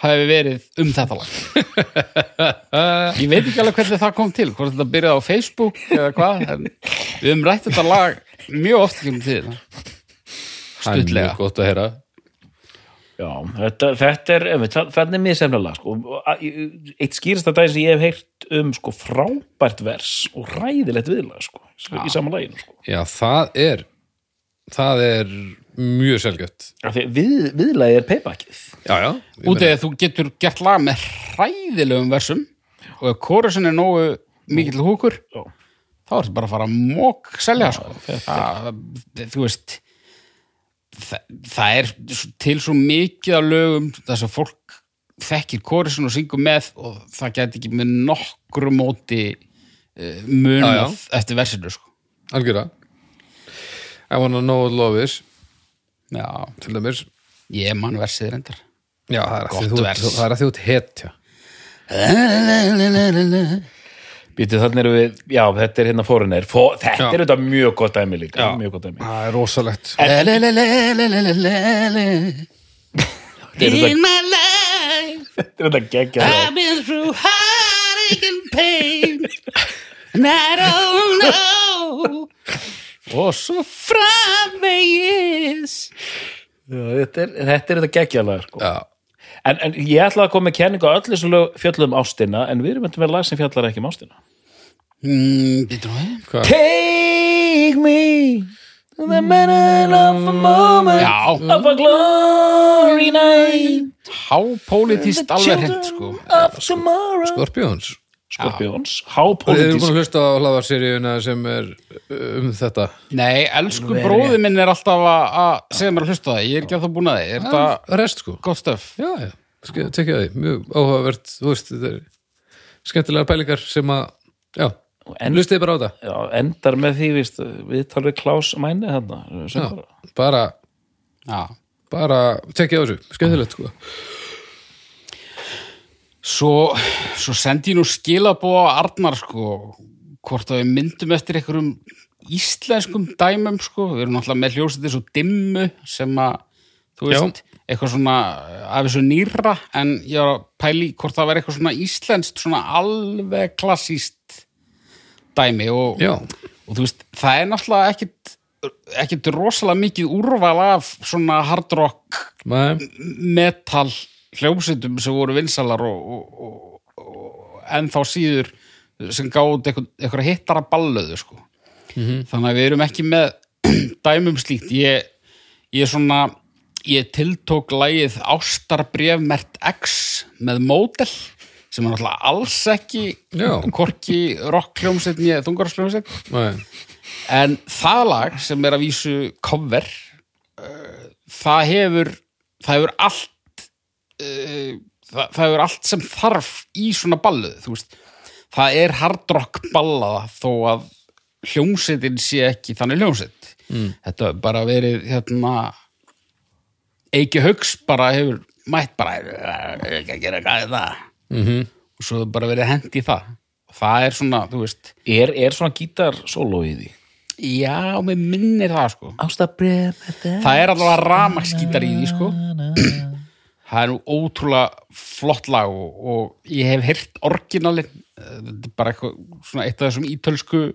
hafi verið um þetta lag ég veit ekki alveg hvernig það kom til hvort þetta byrjaði á Facebook eða hvað en við höfum rætt þetta lag mjög oft ekki um tíðina Það er Stuttlega. mjög gott að heyra já, þetta, þetta er einmitt, það- þannig er mér semlega sko. Og að- ég- eitt skýrasta dæmi sem ég hef heyrt um sko, frábært vers og ræðilegt viðlag sko, í sama laginu sko. Já, það er það er mjög selgjöft Af því að við, viðlagið er paybackið Já, já ég út meina- eða þú getur gert lag með hræðilegum versum og ef kórusin er nógu mikill húkur Já. þá ertu bara að fara að mók selja sko. það, þú veist það, það er s- til svo mikið af lögum þess að fólk þekkir kórusin og syngur með og það gæti ekki með nokkru móti eh, Já, munað já. eftir versinu sko. Algjörða I wanna know what love is já, til dæmis ég man versið reyndar Já, það er að því Gott þú- vers. það er að því út hetja Býtu, þannig erum við, já, þetta er hérna fórinir Fó, þetta Já. er þetta mjög gott dæmi líka mjög gott dæmi Það er rosalegt Þetta er þetta- my life þetta er þetta geggja I've been through heartache and pain And I don't know Og svo framvegis þetta er þetta er þetta geggja lag sko. Já, En, en ég ætla að koma með kenningu á öll þessu lög fjöllum um ástina, en við erum eitthvað með lag sem fjallar ekki um ástina. mm, Býtur á þeim hvað? Take me to the middle of a Uh, moment Já, of a glory night hápólitíst alveg hreint sko of tomorrow Skorpjóns Skorpjóns, Þið eru búin Sko, hápólitísk að hlusta á hlaðarseríuna sem er um þetta Nei, elsku bróði minn er alltaf að að segja mér að hlusta á það, ég er ekki að það búin að það Er þetta rest sko gott stöf? Já, já, Ske- tekja því, mjög áhugavert þú veist, þetta er skemmtilegar pælingar sem að, já, en- hlustið bara á það Já, endar með því, víst, við talum við Klaus Mæni þarna, sem bara Já, bara, Já bara tekja á þessu, skemmtilegt sko Svo, svo sendi ég nú skilabóð á Arnar sko, hvort að við myndum eftir einhverjum íslenskum dæmum sko, við erum náttúrulega með hljósið svo dimmu sem að, þú veist, eitthvað svona af þessu nýra, en ég var að pæli hvort það væri eitthvað svona íslenskt, svona alveg klassíst dæmi og, Já, og þú veist, það er náttúrulega ekkit, ekkit rosalega mikið úrval af svona hard rock maður, metal hljómsveitum sem voru vinsalar og, og, og, og ennþá síður sem gáði eitthvað hittara ballöðu sko. þannig að við erum ekki með dæmum slíkt ég, ég svona ég tiltók lagið ástarbrefmert X með mótel sem er náttúrulega alls ekki Já. korki rockljómsveit nýja þungarsljómsveit Nei. En það lag sem er að vísu cover uh, það hefur það hefur allt uh, það, það hefur allt sem þarf í svona balluð, þú veist það er hardrock ballaða þó að hljómsveitin sé ekki þannig hljómsveit mm. þetta hefur bara verið hérna Eiki Hauks bara hefur mætt bara "Ég er ekki að gera hvað er það mm -hmm. og svo hefur bara verið hent í það og það er svona, þú veist er, er svona gítar solo í því já, mér minnir það sko Ástabref þetta Það er allavega ramaskítar í því sko Það er nú ótrúlega flott lag og, og ég hef heyrt orginalin þetta er bara eitthvað, svona eitt af þessum ítölsku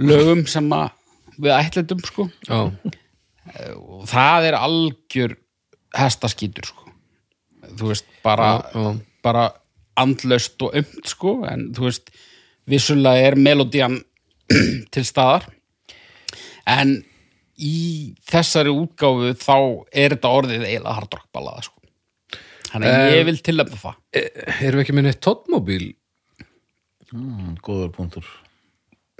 lögum sem að við ætlandum sko Já. og það er algjör hestaskítur sko þú veist, bara, Já, já. bara andlaust og umt sko en þú veist, vissulega er melodían til staðar en í þessari útgáfu þá er þetta orðið eiginlega hardrockballaða sko. þannig að Eh, ég vil tilöfna það E- Erum við ekki með neitt tóttmóbíl? góður punktur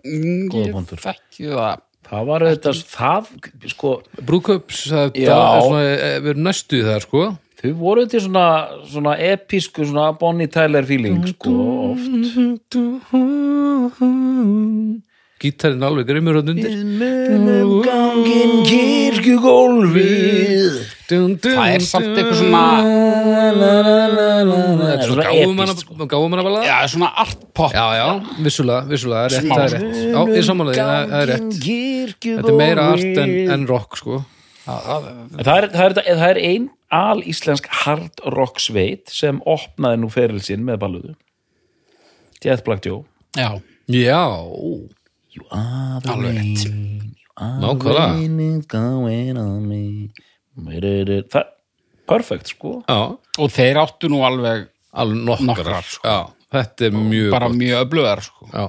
góða ég punktur. þekki það það var þetta, það sko Brúköps, það Já. það er svona, e, við erum næstu það, sko. þau voru til svona, svona episku, svona Bonnie Tyler feeling sko, oft Gítarinn alveg grimmur hann undir. um Gangin kirkjugólfið Það Það er samt eitthvað svona- Þetta er svona Svona gáfum episkt, hana, gáfum hana balað. sko. já, svona art pop Já, já, vissulega, vissulega, það er rétt, Smá. það er rétt. Já, ég sammála því, það það er rétt. kirkjugólfið Þetta er meira art en, en rock, sko. En það er, það er, það er, það er ein al íslensk hard rock sveit sem opnaði nú feril sinn með balluðu Death Black Joe já, Já, You are the alveg rétt nákvæmlega. rain is going on me það er perfekt sko Já, og þeir áttu nú alveg alveg nokkrar. Nokkrar, sko. Já, þetta er mjög bara gott. mjög öflugar sko. Já.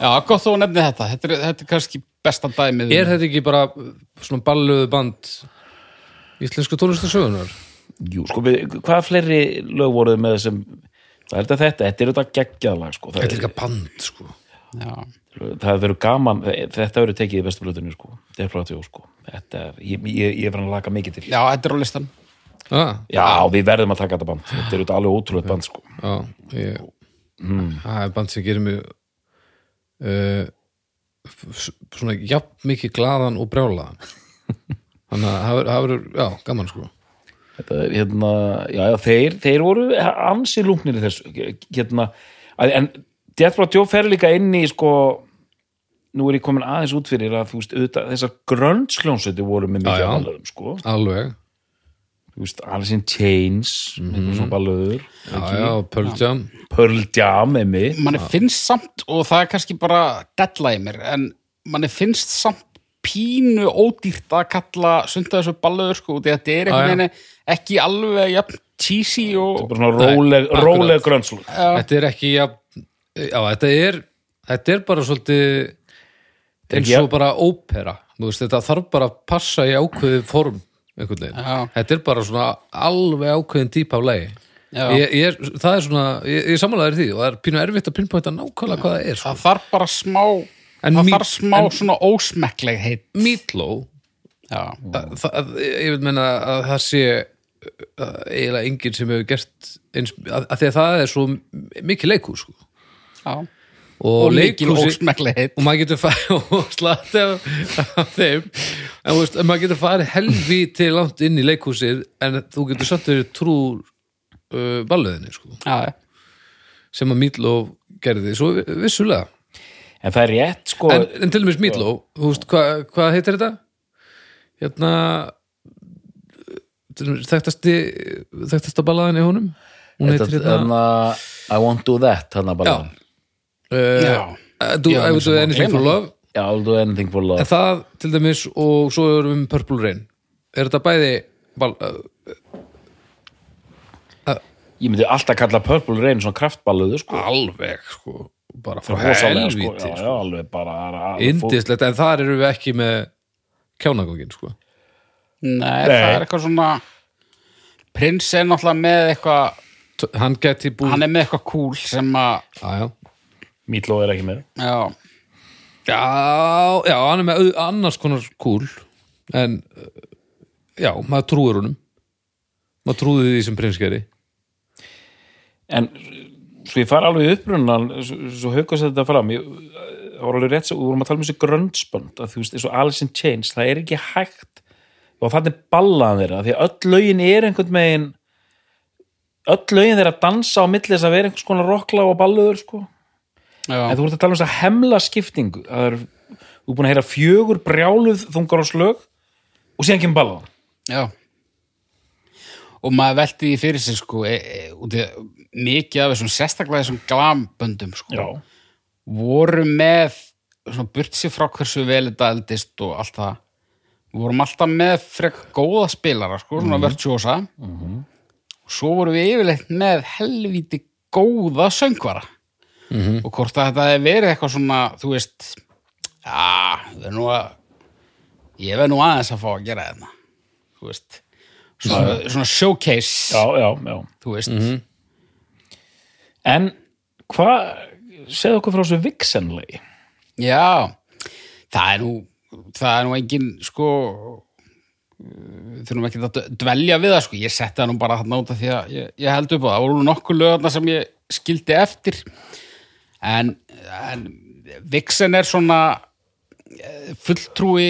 já, gott þú nefnir þetta þetta er, þetta er kannski besta dæmið Er þetta ekki bara svona balluðu band íslensku tónlistarsögunar? Jú, sko, við, hvaða fleiri lög voruð með sem það er þetta þetta, þetta er þetta geggjaðlag sko. það, Þetta er eitthvað band, sko. já, það verður gaman, þetta verður tekið í bestu blöðinu sko, Death Black Joe sko þetta, ég, ég, ég verður að laka mikið til já, þetta er á listan Já, Já, við verðum að taka þetta band þetta er þetta alveg ótrúlega band sko já, ég, það er band sem gerir mig uh, s- svona jafn mikið glaðan og brjálaðan. Þannig að það verður- það verður, já, gaman, sko. þetta er hérna, já, já þeir, þeir voru ansi lúknir í þessu hérna, að- en Death Blood Joe fer líka inn í sko nú er ég komin aðeins út fyrir að þú veist, auðvitað, þessar grönnsljónsöti voru með Já, mikið já. ballarum sko Alveg. þú Þú veist, Alice in Chains Mhm. mm -hmm. svona ballöður, Já, já, Pearl Jam Pearl Jam emi, manni finnst samt og það er kannski bara deadline mér en manni finnst samt pínu ódýrt að kalla sunda þessu ballöður sko því að þetta Já, já. er einhvern veginn ekki alveg jafn cheesy og bara svona róleg, akkurat. róleg grönnsljóð Þetta er ekki, já, já þetta, er, þetta er bara svolítið eins ekki- og bara ópera Þú veist, þetta þarf bara að passa í ákveðið form einhvern veginn Já. Þetta er bara svona alveg ákveðin típ af lagi Já. ég, ég, er- Það er svona, ég, ég sammálaður því og það er pínu erfitt að pinpointa nákvæmlega hvað það er sko. það þarf bara smá En það mí- þarf smá svona ósmekkleg heit Meatlow já, það, það, ég vil meina að það sé uh, eiginlega enginn sem hefur gert eins, að, að því að það er svo mikið leikhús sko. já. og, og mikil leikhúsi ósmekkleg heit og maður getur farið og slatti af, af þeim en þú veist, en maður getur farið helvi til langt inn í leikhúsið en þú getur samt verið trú uh, balluðinni sko, já, já. sem að Mítlóf gerði, svo vi- vissulega en það er rétt sko en, en til dæmis Mítlóf, þú veist, hva, hvað heitir þetta? hérna til dæmis, þekktasti þekktasta ballaðin í honum hún þetta, heitir hérna hérna, I won't do that hann að já, bara, uh, Já. þú, Já, ef sem þú að er anything for gleyma. love já, I'll do anything for love En það til dæmis og svo erum við með Purple Rain Er þetta bæði val, uh, ég myndi alltaf kalla Purple Rain svona kraftballöðu sko alveg sko bara frá Rosalega, sko, helvíti já, já, alveg bara alveg indislegt, en þar erum við ekki með kjánagókin, sko Nei, það er eitthvað svona prins er náttúrulega með eitthvað T- hann geti búið Mm. hann er með eitthvað cool sem að já, já. Mítló er ekki með já, já, já, hann er með au- annars konar kúl en uh, já, maður trúir honum maður trúði því sem prins geri en svo ég fara alveg í upprunan svo, svo haukast þetta fram ég það var alveg rétt, svo- við vorum að tala um þessi grönnsbönd að þú veist, eins og Alice in Chains, það er ekki hægt og það er ballaðan þeirra því að öll lögin er einhvern megin öll lögin þeirra dansa á milli þess að vera einhvers konar rockla og balluður sko. já. en þú voru að tala um þess að hemla skiptingu það er, þú er búin að heyra fjögur brjáluð þungar á slög og síðan kemur ballaðan Já og maður velti því fyrir sig sko, e, e, út í mikið af þessum sérstaklega þessum glamböndum sko, voru með svona burtsi frá hversu vel þetta eldist og allt það vorum alltaf með frekk góða spilara sko, svona virtuosa og svo vorum við yfirleitt með helvíti góða söngvara og hvort að þetta hefði verið eitthvað svona þú veist já, við erum nú að ég verð nú aðeins að fá að gera þetta þú veist svona, svona showcase já, já, já þú veist En hvað, segðu okkur frá þessu viksenlegi? já, það er nú það er nú engin sko uh, þurfum ekki að dvelja við það sko, ég setti það nú bara þarna út af því að ég, ég held upp á það, það voru nú nokkuð lögarna sem ég skildi eftir en, en Vixen er svona eh, fulltrúi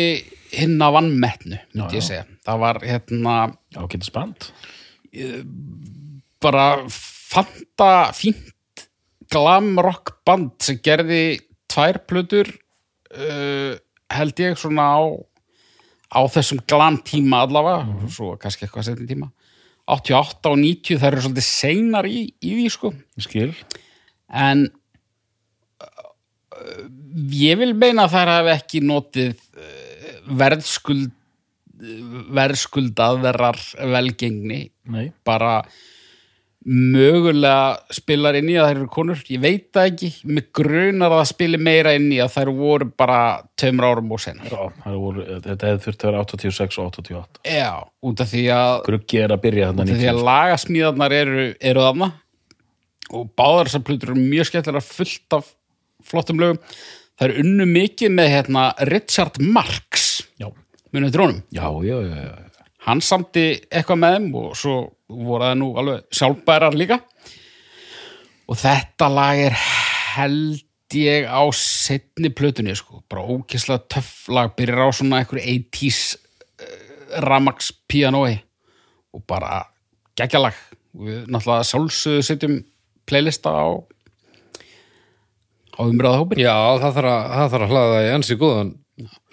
hinn að vannmetnu, myndi ég segja það var hérna Já, getur spant. bara fanta fínt glam rock band sem gerði tvær plötur uh, held ég svona á á þessum glam tíma allavega svo kannski eitthvað setni tíma 88 og 90 það eru svolítið seinar í, í því sko Skil. en uh, ég vil meina að þær hafi ekki notið uh, verðskuld uh, verðskuldað verrar velgengni Nei. bara mögulega spilar inn í að þær eru konur ég veit það ekki, mig grunar að það spili meira inn í að þær voru bara tömur árum og senar Já, það voru, þetta hefði þurft að vera 86 og 88. já, út af því að, Gruggi er að byrja út þarna af því 90. að lagasmíðarnar eru, eru þarna og báðar þessar plötur eru mjög skemmtilega fullt af flottum lögum það eru unnu mikið með hérna, Richard Marx Já, munið drónum já, já, já. já. hann samti eitthvað með þeim og svo voru það nú alveg sjálfbærar líka og þetta lag er held ég á setni plötunni sko, bara ókislega töff lag byrjar á svona einhver 80s uh, Ramax pianoi og bara geggjalag við náttúrulega sjálfsögðu setjum playlista á á umræðahópin já, það þarf að, það þarf að hlaða í ansi góðan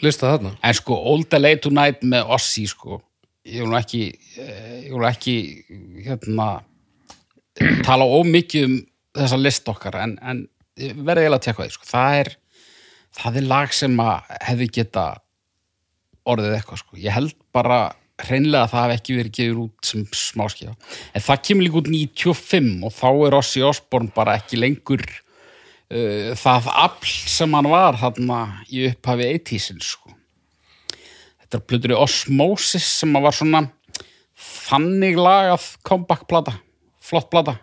lista þarna En sko, Old A Late Tonight með Ossi, sko, ég vil nú ekki, eh, ég vil nú ekki, hérna, tala ómikið um þessa list okkar, en, en verðið eiginlega að tekka því, sko, það er, það er lag sem að hefði geta orðið eitthvað, sko, ég held bara hreinlega að það hef ekki verið gefur út sem smáskja, en það kemur líka út 95 og þá er Ossi Osborn bara ekki lengur uh, það afl sem hann var þarna í upphafi 80-sin, sko þetta er plötur í Osmosis sem að var svona þannig lagað comeback plata, flott plata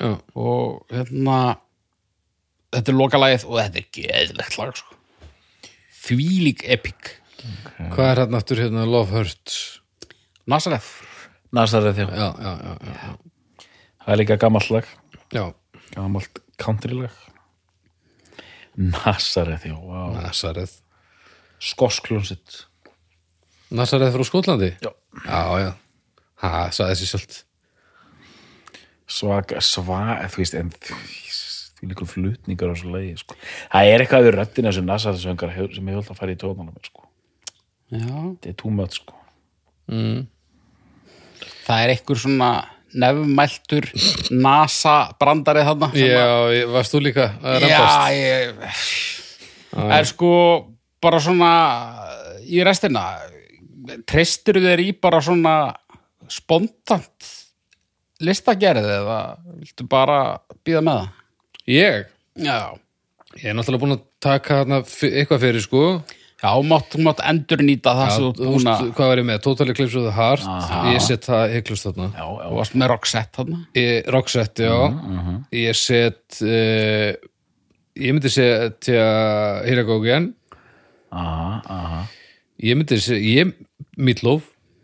já, og hérna þetta er lokalagið og þetta er geðvegt lag sko. þvílík epic hvað er hérna aftur hérna Love Hurts Nazareth Nasarið þjá. já, já, já, já, já. Það er líka gamalt lag. já. Gamalt country lag. Nasarið þjá, wow. Nasareth Skoskljónsitt. Nasareth frá Skotlandi? Já. Já, já. Ha, sagði þessi sjálft. Svaka, svaka, þú veist, en þú líka flutningar á svo leiði, sko. Það er eitthvað við röddina sem Nasarið söngar hefur- sem ég höll að fara í tóðanum, sko. Já. Þetta er túmöð, sko. það er einhver svona nefnmæltur NASA brandari þarna sem að- Já, ég- varst þú líka að Já, rambast? ég Það er sko bara svona í restina treystir þeir í bara svona spontant listagerð eða viltu bara býða með það? Ég? Já Ég er náttúrulega búin að taka hana eitthvað fyrir sko Já, þú mátt, þú mátt endur nýta það Já, sem þú þú ert búin veist að hvað var ég með, Total Eclipse of the Heart Ég set það heiklust þarna Já, já. Mhm. Þú varst með Roxette þarna Ég- Roxette, já Mhm. Ég set uh, Ég myndi setja Hiragogian Aha, aha. Ég myndi setja, ég, Meatloaf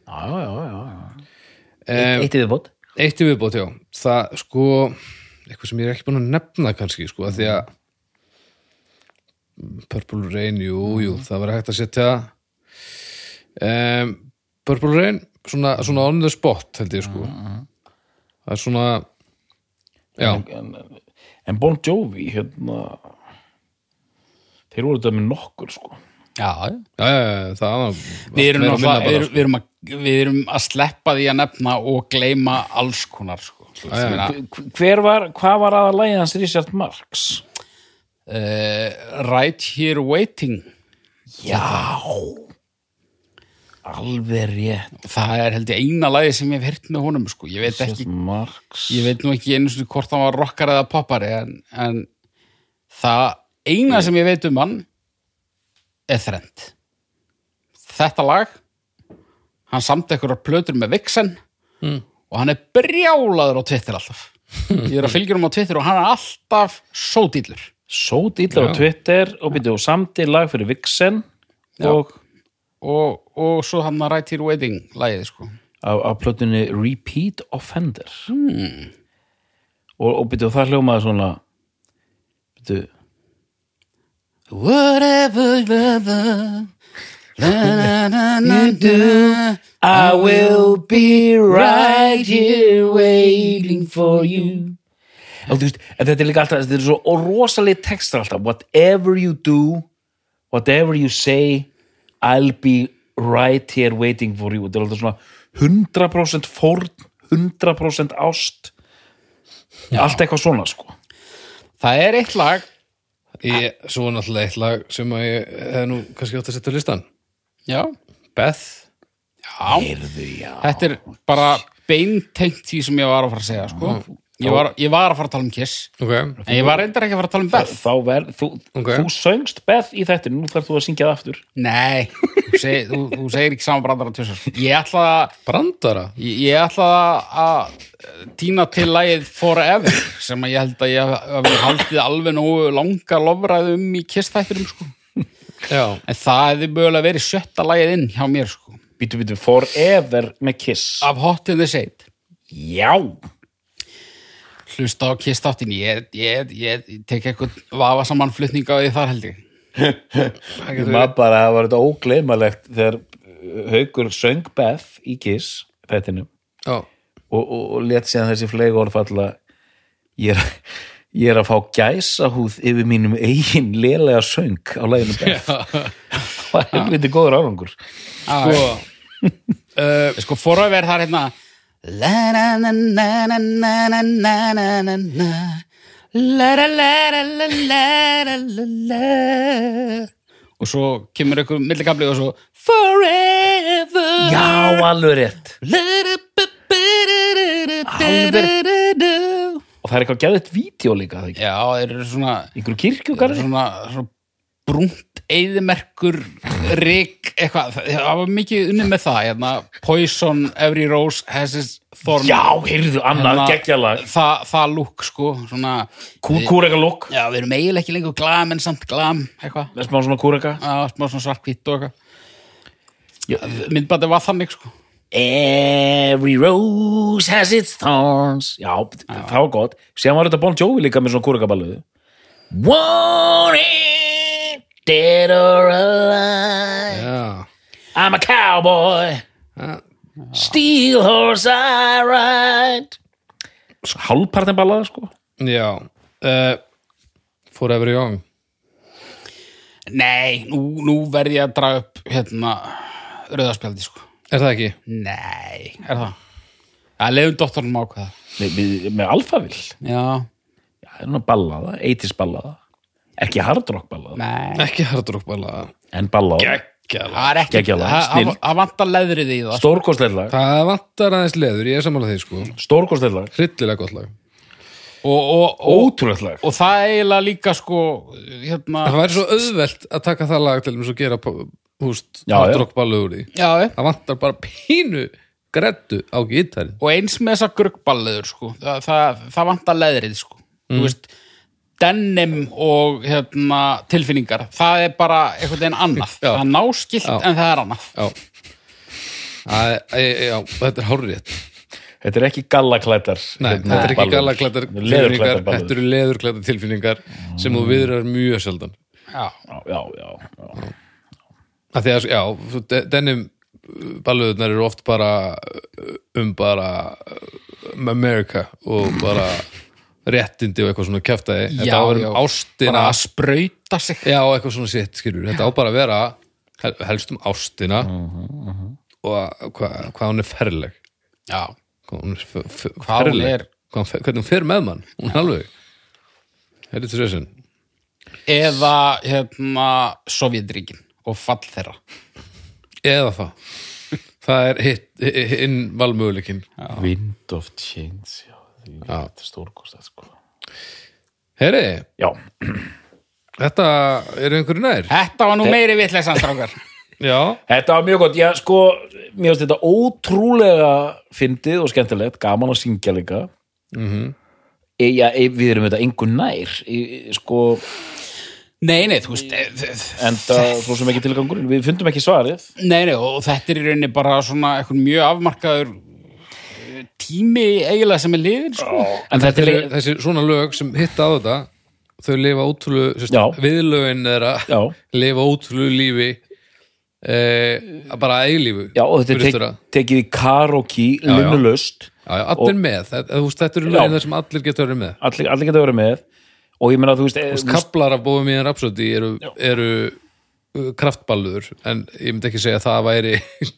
Já, já, já, já, já. um, Eitt í viðbót Eitt í viðbót, já Það sko, eitthvað sem ég er ekki búin að nefna kannski, sko, að því að Purple Rain, jú, jú Mhm. það var hægt að setja um, Purple Rain svona, svona on the spot, held ég sko Mhm. það er svona já, En, en Bon Jovi, hérna, þeir voru þetta með nokkur, sko. Já, já, já, já það var við erum, meira og minna bara, náttúrulega- við, erum- við, erum að, við erum að sleppa því að nefna og gleyma alls konar sko. Þú veist, ég meina, Hver- Hver var, hvað var aða lægið hans Richard Marx? eh, Right Here Waiting Já, alveg rétt. það er held ég eina lagi sem ég hef hirt með honum sko. ég, veit ekki, Marx. ég veit nú ekki einu svona hvort hann var rockar eða poppari en, en það eina sem ég veit um hann er þrend þetta lag hann samt einhverjar plötur með Vixen og hann er brjálaður á Twitter alltaf ég er að fylgjur um á Twitter og hann er alltaf sódýllur Sót illa á Já. Twitter og byrjuðu samti lag fyrir Vixen og og, og svo hann að Right Here Waiting lagið sko á, á plötunni Repeat Offender hmm. og, og byrjuðu það hljómaði svona byrjuðu Whatever lover na, na, na, na, I will be right here waiting for you og þú veist, en þetta er líka alltaf þetta er svo og rosalega textar alltaf whatever you do, whatever you say I'll be right here waiting for you þetta er alltaf svona 100% fórn 100% ást allt eitthvað svona sko Það er eitt lag ég, svo var náttúrulega eitt lag sem að ég hef nú kannski átt að setja á listan Já, Beth já. Heyrðu, já. þetta er bara beintengt því sem ég var að fara að segja sko. ég, var, ég var að fara að tala um Kiss ok, en ég var reyndar ekki að fara að tala um Beth þá verð, þú, Ok. þú söngst Beth í þetta, nú þarf þú að syngja það aftur Nei, þú, seg, þú, þú segir ekki sama brandara tvisar Ég ætla að brandara Ég, ég ætla að týna til lagið Forever sem að ég held að ég hafi haldið alveg nógu langa lofræðu um í kistætturum sko. já, en það hefði mögulega verið sjötta lagið inn hjá mér sko. Bítu, bítu, forever með Kiss af Hot in the Shade Já, hlusta á kistáttin ég, ég, ég, ég tek eitthvað vafa saman flutninga á því þar held ég ég maður bara það var þetta ógleymalegt þegar uh, Haukur söng Beth í Kiss þættinum já, og, og, og let síðan þessi fleig orðfalla ég er, ég er að fá gæsahúð yfir mínum eigin lélega söng á læginu Beth það var helviti góður árangur sko uh, sko Forever það er hérna la na na na na na na na na na na la la la la la la la la la og svo kemur ykkur millikabli og svo Forever Já, alveg rétt Alveg og það er eitthvað gæðið vídeo líka það ekki? Já, þeir eru svona einhver þeir eru kirkjugarði svona, svona brúnt eyðimerkur rík, eitthvað, það það var mikið unnið með það, hérna Poison, Every Rose has its thorn Já, heyrðu, annað Hérna, geggjalag það, það lúk, sko, svona Kúreka lók, Já, við erum eiginlega ekki lengur glam en samt glam, eitthvað smá svona kúreka Já, smá svona svartkvít og eitthvað Já, Myndbandið var þannig, sko Every rose has its thorns Já, það var gott Síðan var þetta Bon Jovi líka með svona kúrekaballuðu Won't it dead or alive já I'm a cowboy Steel horse I ride Hálpartin ballaða sko Já uh, Forever Young Nei, nú, nú verð ég að draga upp, hérna, rauðaspjaldi, sko Er það ekki? Nei, er það? Já, leiðum doktornum ákveða. Með, með, með alfavill Já, Já, það er nú ballaða, 80s ballaða Ekki hardrock ballaða nei. Ekki hardrock bara En ballaða Geggjala Það er ekki, Geggjalag, það- það- snill. það vantar leðrið í það. sko. Stórkostleitlag Það vantar aðeins leður, ég er sammála því sko Stórkostleitlag Hryllilega gott lag og, og, og, Ótrúlegt lag. og það eiginlega líka sko hérna, Það væri svo auðvelt að taka það lag til þess að gera pop- húst, Já, já. hardrock ballu úr því já, Það vantar bara pínu grettu á gítarinn og eins með þessa grugballeður sko. það, það, það vantar leðrið sko. Þú veist, denim og hérna, tilfinningar það er bara einhvern veginn annað Já. það er náskilt Já. en það er annað Já, að, að, já þetta er hárrétt Þetta er ekki gallaklætar Nei, hérna, þetta er ekki ballur. galaklættar Þetta er tilfinningar leðurklæddar Þetta ballur. eru leðurklættar tilfinningar sem þú viðrar mjög sjaldan já. Já, já, já, já. að því að, já, de- denim balluðunar eru oft bara uh, um bara uh, um America og bara réttindi og eitthvað svona kjaftaði Já, þetta á að vera um já. ástina bara að sprauta sig já, og eitthvað svona sitt, skilur þetta á bara að vera hel- helst um ástina Mhm, og að- hvað hva hún er ferleg já, hvað hún er f- f- Hvað hún ferleg er- hvað hún fer- hvernig hún fer með mann, hún er alveg þetta er þessin eða hérna, sovjetríkin og fall þeirra eða það það er hitt, hi- hinn valmöguleikin Wind of Change Já, því þetta er stórkosta sko. herri, Já, Þetta er einhverju nær þetta var nú meiri vitleysan strákar Já, þetta var mjög gott Já, sko, mér finnst þetta ótrúlega fyndið og skemmtilegt, gaman að syngja líka Mhm. e, Já, e, við erum þetta engu nær e, e, sko, nei, nei, þú veist eh, eh, enda svo sem ekki tilgangur við fundum ekki svarið Nei, nei, og þetta er í rauninni bara svona eitthvað mjög afmarkaður eh, tími eiginlega sem er liðin sko. en þetta er e, Þeir, þessi svona lög sem hitta á þetta þau lifa ótrúlu sérst, Já. viðlögin þeirra Já. lifa ótrúlu lífi eh, bara eilífu Já, og þetta er Fyrirstjóra. tek, tekið í karaoke já. linnulöst Já, já, allir með, þetta, þú veist, þetta eru Já. lögin þar sem allir geta verið með allir, allir geta verið með og ég meina þú veist, eh, þú veist Kaplar af bóðum í en rapsóti eru, eru uh, kraftballuður en ég myndi ekki segja að það væri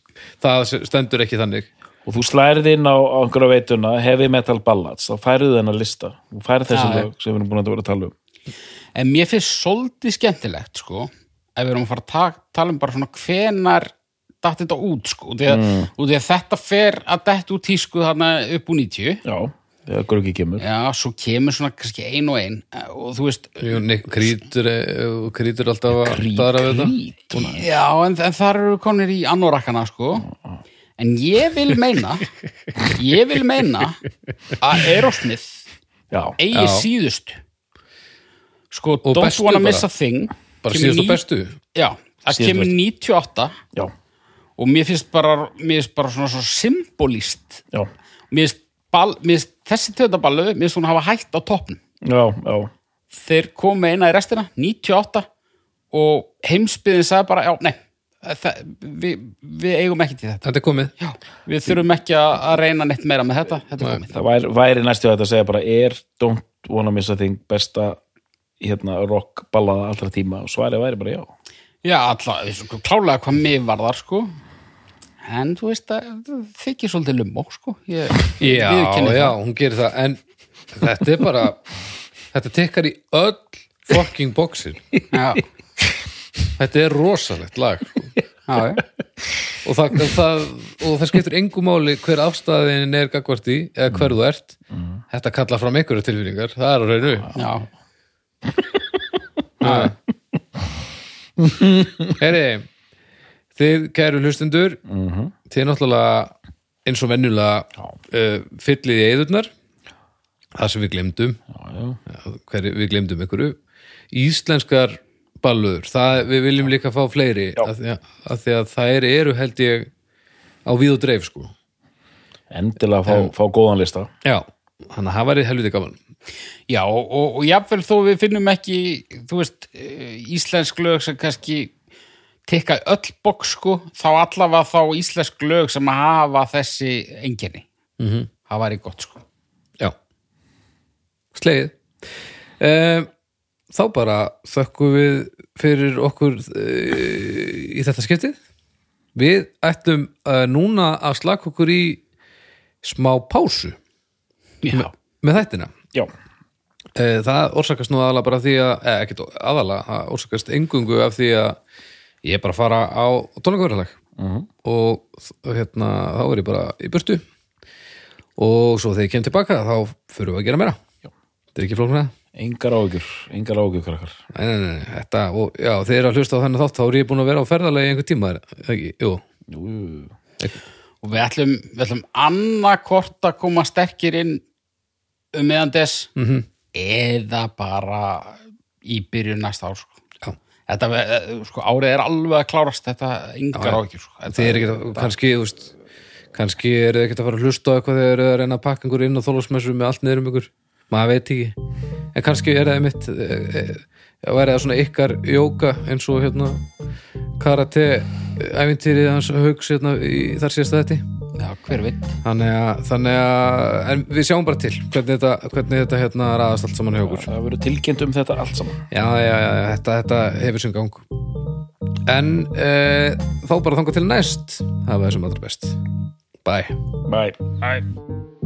það stendur ekki þannig og þú slærið inn á, á einhverja veituna heavy metal ballads, þá færið þennan lista og færið þessi Já, lög sem við erum búin að vera að tala um en mér finnst svolítið skemmtilegt sko, ef við erum að fara að ta- tala um bara svona hvenar datt þetta út sko, og því að, og því að þetta fer að dett úr tísku sko, þarna upp úr 90 já, þegar Gurgi kemur já, svo kemur svona kannski ein og ein eh, og þú veist, Jú, Nick Krítur, eh, Krítur alltaf að Krít, daðra við þetta. krít, maður. já, en, en þar eru konir í annorakkana sko en ég vil meina ég vil meina að Erosmith já, eigi Já. síðustu sko, Og don't bestu wanna bara. miss a thing bara kemur síðast ní- og bestu já, það Síðustu kemur 98 já, og mér finnst bara, mér finnst bara svona svo symbolist já, mér finnst, ball, mér finnst þessi töðaballu mér finnst hún hafa hægt á toppn já, já. þeir komu eina í restina 98 og heimsbyðin sagði bara, já, nei það, við, við eigum ekki til þetta Þetta er komið já, við þurfum ekki að að reyna neitt meira með þetta þetta er komið það væri, væri næstu að þetta segja bara er Don't Wanna Miss a Thing besta hérna, rock ballada allra tíma og svarið væri bara já Já, alltaf, við sko, klálega hvað mig var þar, sko. En þú veist að það þykir svolítið lummó, sko. Ég, ég Já, viðurkenni já, það. hún gerir það En þetta er bara Þetta tekkar í öll fucking boxin já. Þetta er rosalegt lag sko. Já, já. og það, það, og það skiptir engu máli hver afstæðin er gagvart í eða hver þú ert Þetta kallar fram einhverju tilfinningar Það er á reynu já. Heri, þið kæru hlustendur Þið náttúrulega eins og venjulega uh, fyllið í eðurnar Það sem við glemdum hver, við glemdum einhverju íslenskar ballur það, við viljum líka fá fleiri af því, að, af því að þær eru held ég á víð og dreif sko endilega fá, fá góðan lista já, þannig að það væri helviti gaman Já, og, og, og jafnvel þó við finnum ekki, þú veist, eh, íslensk lög sem kannski tikka í öll boks, sko, þá allavega þá íslensk lög sem hafa þessi enginni. Mhm. Mm -hmm. Það væri gott, sko. já, slegið um, þá bara þökkum við fyrir okkur uh, í þetta skiptið við ættum uh, núna að slaka okkur í smá pásu Já. með þættina já, Eh, Það orsakast nú aðalega bara af því að, eða ekkert aðalega, það orsakast engungu af því að ég er bara að fara á tónleikaverðalag og þ- hérna, þá er ég bara í burtu og svo þegar ég kem tilbaka þá fyrir við að gera meira. þetta er ekki flókna engar ágjur, engar ágjur krakkar Nei, nei, nei, þetta, og já, þeir eru að hlusta á þennan þátt þá er ég búin að vera á ferðalegi einhver tíma er það ekki, jú, Jú, jú. og við ætlum, við ætlum annarkort að koma sterkir inn um meðan þess -hmm. eða bara í byrjun næsta ár sko. Já. þetta, eh, sko, árið er alveg að klárast þetta yngar ákjur sko. Þetta- þeir eru ekki, að- kannski, þú veist kannski eru þeir ekkert að fara að hlusta á eitthvað þegar þeir eru að reyna að pakka einhver inn á þólasmessu með allt niður um ykkur, maður veit ekki en kannski er það mitt væri það svona ykkar jóka eins og hérna karate ævintýrið hans hauks hérna í þar síðasta þetta já, hver veit þannig að, þannig að en við sjáum bara til hvernig þetta, hvernig þetta hérna raðast allt saman hjá okkur það verður tilkynnt um þetta allt saman já, já, já, þetta, þetta hefur sem gang en e, þá bara þangað til næst hafa þessum allra best bye bye